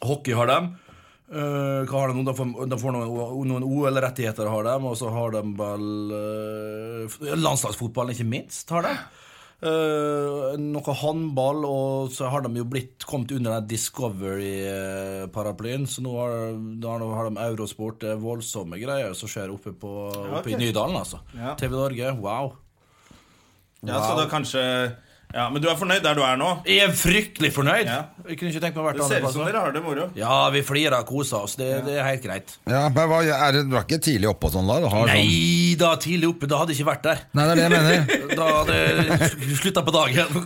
[SPEAKER 3] Hockey har de. Eh, hva har de nå? De får, de får noen, noen OL-rettigheter, har de. Og så har de vel eh, f- Landslagsfotballen, ikke minst, har de. Eh, noe håndball, og så har de jo blitt kommet under den Discovery-paraplyen. Så nå har, da har- nå har de Eurosport. Det er voldsomme greier som skjer oppe, på,
[SPEAKER 1] ok.
[SPEAKER 3] oppe i Nydalen, altså.
[SPEAKER 1] Ja.
[SPEAKER 3] TV Norge, wow.
[SPEAKER 1] Ja, så da kanskje Ja, Men du er fornøyd der du er nå?
[SPEAKER 3] Jeg er fryktelig fornøyd!
[SPEAKER 1] Ja.
[SPEAKER 3] Jeg kunne ikke tenkt meg å vært
[SPEAKER 1] Det ser ut som
[SPEAKER 3] annerledes.
[SPEAKER 1] dere har det moro.
[SPEAKER 3] Ja, vi flirer og koser oss. Det, det er helt greit.
[SPEAKER 2] Ja, men hva, er det, Du er ikke tidlig oppe og sånn da? Du har sånn.
[SPEAKER 3] Nei da, tidlig oppe. Da hadde jeg ikke vært der.
[SPEAKER 2] Nei, det er det jeg mener.
[SPEAKER 3] Da hadde jeg slutta på dagen.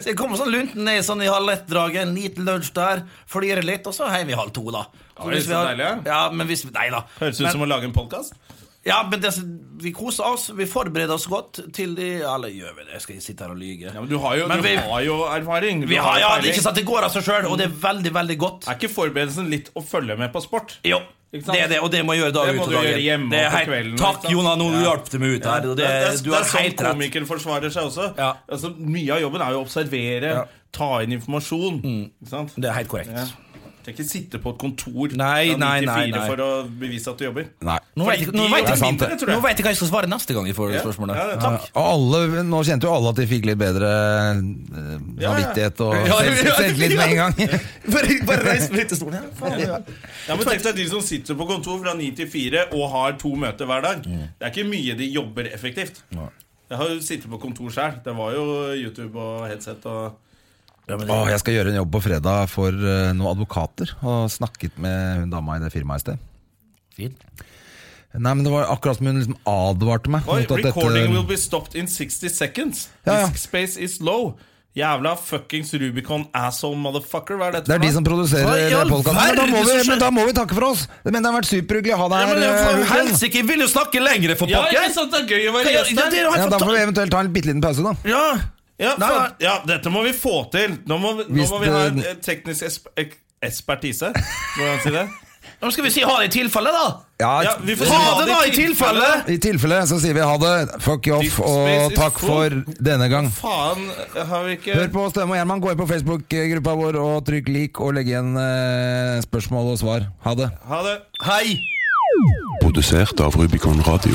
[SPEAKER 3] Så jeg kommer sånn lunten ned sånn i halv ett-draget, en liten lunsj der, flirer litt, og så hjem i halv to, da.
[SPEAKER 1] Oi, så deilig,
[SPEAKER 3] ja, men hvis vi, Nei da.
[SPEAKER 1] Høres ut
[SPEAKER 3] Men-
[SPEAKER 1] som å lage en podkast.
[SPEAKER 3] Ja, men det, vi koser oss, vi forbereder oss godt til de Eller gjør vi det? Jeg skal ikke sitte her og lyge.
[SPEAKER 1] Ja, men du har jo, du
[SPEAKER 3] Men vi-
[SPEAKER 1] har jo erfaring. Du
[SPEAKER 3] vi har, ja,
[SPEAKER 1] peiling.
[SPEAKER 3] ikke sant, Det går av seg sjøl, og det er veldig, veldig godt.
[SPEAKER 1] Er ikke forberedelsen litt å følge med på sport?
[SPEAKER 3] Jo,
[SPEAKER 1] Ikke sant?
[SPEAKER 3] det er det, og det må jeg gjøre dag
[SPEAKER 1] Det må
[SPEAKER 3] ut og
[SPEAKER 1] du
[SPEAKER 3] dag
[SPEAKER 1] gjøre hjemme
[SPEAKER 3] inn. Det er
[SPEAKER 1] og på
[SPEAKER 3] helt-
[SPEAKER 1] kvelden, ikke
[SPEAKER 3] Takk,
[SPEAKER 1] sant?
[SPEAKER 3] Jona, nå
[SPEAKER 1] Ja.
[SPEAKER 3] hjalp du meg ut her.
[SPEAKER 1] Det,
[SPEAKER 3] og Det,
[SPEAKER 1] er-
[SPEAKER 3] du
[SPEAKER 1] det
[SPEAKER 3] har
[SPEAKER 1] er sånn
[SPEAKER 3] helt rett.
[SPEAKER 1] komikere forsvarer seg også.
[SPEAKER 3] Ja.
[SPEAKER 1] Altså, mye av jobben er jo å observere, ta inn informasjon. Ikke sant?
[SPEAKER 3] Mm. Det er helt korrekt.
[SPEAKER 1] Ja. Trenger ikke sitte på et kontor
[SPEAKER 3] Nei,
[SPEAKER 1] fra 9
[SPEAKER 3] nei,
[SPEAKER 1] til
[SPEAKER 3] nei,
[SPEAKER 1] 4
[SPEAKER 3] nei.
[SPEAKER 1] for å bevise at du jobber.
[SPEAKER 2] Nei.
[SPEAKER 3] Nå vet, jeg, nå, vet
[SPEAKER 1] Det
[SPEAKER 3] jeg,
[SPEAKER 1] er sant, det.
[SPEAKER 3] nå vet jeg hva jeg skal svare neste gang jeg får det
[SPEAKER 1] Ja.
[SPEAKER 3] spørsmålet.
[SPEAKER 1] Ja, det er takk.
[SPEAKER 2] Og alle, nå kjente jo alle at de fikk litt bedre eh,
[SPEAKER 1] Ja, ja.
[SPEAKER 2] samvittighet og
[SPEAKER 3] Ja, ja, ja.
[SPEAKER 2] selvtillit med en gang.
[SPEAKER 3] Bare, bare reis meg litt i stolen. Ja.
[SPEAKER 1] Ja, men tenk deg de som sitter på kontor fra 9 til 4 og har to møter hver dag.
[SPEAKER 2] Mm.
[SPEAKER 1] Det er ikke mye de jobber effektivt. Jeg har jo sittet på kontor selv Det var jo YouTube og headset og
[SPEAKER 2] Åh, jeg skal gjøre en jobb på fredag for eh, noen advokater, og snakket med hun dama i det firmaet i sted.
[SPEAKER 3] Fint.
[SPEAKER 2] Nei, men Det var akkurat som hun liksom advarte meg.
[SPEAKER 1] Oi,
[SPEAKER 2] mot at dette-
[SPEAKER 1] recording will be stopped in 60 seconds.
[SPEAKER 2] Ja, ja.
[SPEAKER 1] Disk space is low. Jævla fuckings Rubicon asshole motherfucker. Hva er dette
[SPEAKER 2] Det er de som
[SPEAKER 3] Hva i
[SPEAKER 2] produserer
[SPEAKER 3] all
[SPEAKER 2] podkasten. Men, da må
[SPEAKER 3] verden
[SPEAKER 2] vi-
[SPEAKER 3] som skjer?
[SPEAKER 2] men da må vi takke for oss! Men det har vært superhyggelig å ha deg
[SPEAKER 3] Ja,
[SPEAKER 2] her.
[SPEAKER 3] men
[SPEAKER 2] eh,
[SPEAKER 3] for
[SPEAKER 2] Rudolf.
[SPEAKER 3] Helsike, vi vil jo snakke lengre, for
[SPEAKER 1] Ja,
[SPEAKER 3] pokker!
[SPEAKER 1] ikke sant? Det er gøy å være
[SPEAKER 3] Ja,
[SPEAKER 1] gjest
[SPEAKER 3] ja, det er
[SPEAKER 1] her.
[SPEAKER 3] jo
[SPEAKER 2] ja,
[SPEAKER 3] helt
[SPEAKER 2] da får vi
[SPEAKER 3] fantastisk.
[SPEAKER 2] eventuelt ta en bitte liten pause, da.
[SPEAKER 3] Ja,
[SPEAKER 1] Ja,
[SPEAKER 3] Nei,
[SPEAKER 1] faen. ja, dette må vi få til. Nå må vi, nå
[SPEAKER 2] Hvis
[SPEAKER 1] må vi ha en
[SPEAKER 2] det-
[SPEAKER 1] eh, teknisk esp ek- ekspertise. Hvordan sier det?
[SPEAKER 3] Nå skal vi si ha det i tilfelle, da!
[SPEAKER 2] Ja,
[SPEAKER 1] Ja, vi får
[SPEAKER 3] Ha
[SPEAKER 1] si hva
[SPEAKER 3] det, da, i tilfelle!
[SPEAKER 2] I tilfelle så sier vi ha det. Fuck you off,
[SPEAKER 1] Deep
[SPEAKER 2] og
[SPEAKER 1] space is
[SPEAKER 2] takk
[SPEAKER 1] full.
[SPEAKER 2] for denne gang.
[SPEAKER 1] Faen, har vi ikke
[SPEAKER 2] Hør på Støme og Gjerman. Gå inn på Facebook-gruppa vår og trykk lik og legg igjen eh, spørsmål og svar. Ha det.
[SPEAKER 1] Ha det.
[SPEAKER 3] Hei!
[SPEAKER 4] Produsert av Rubicon Radio.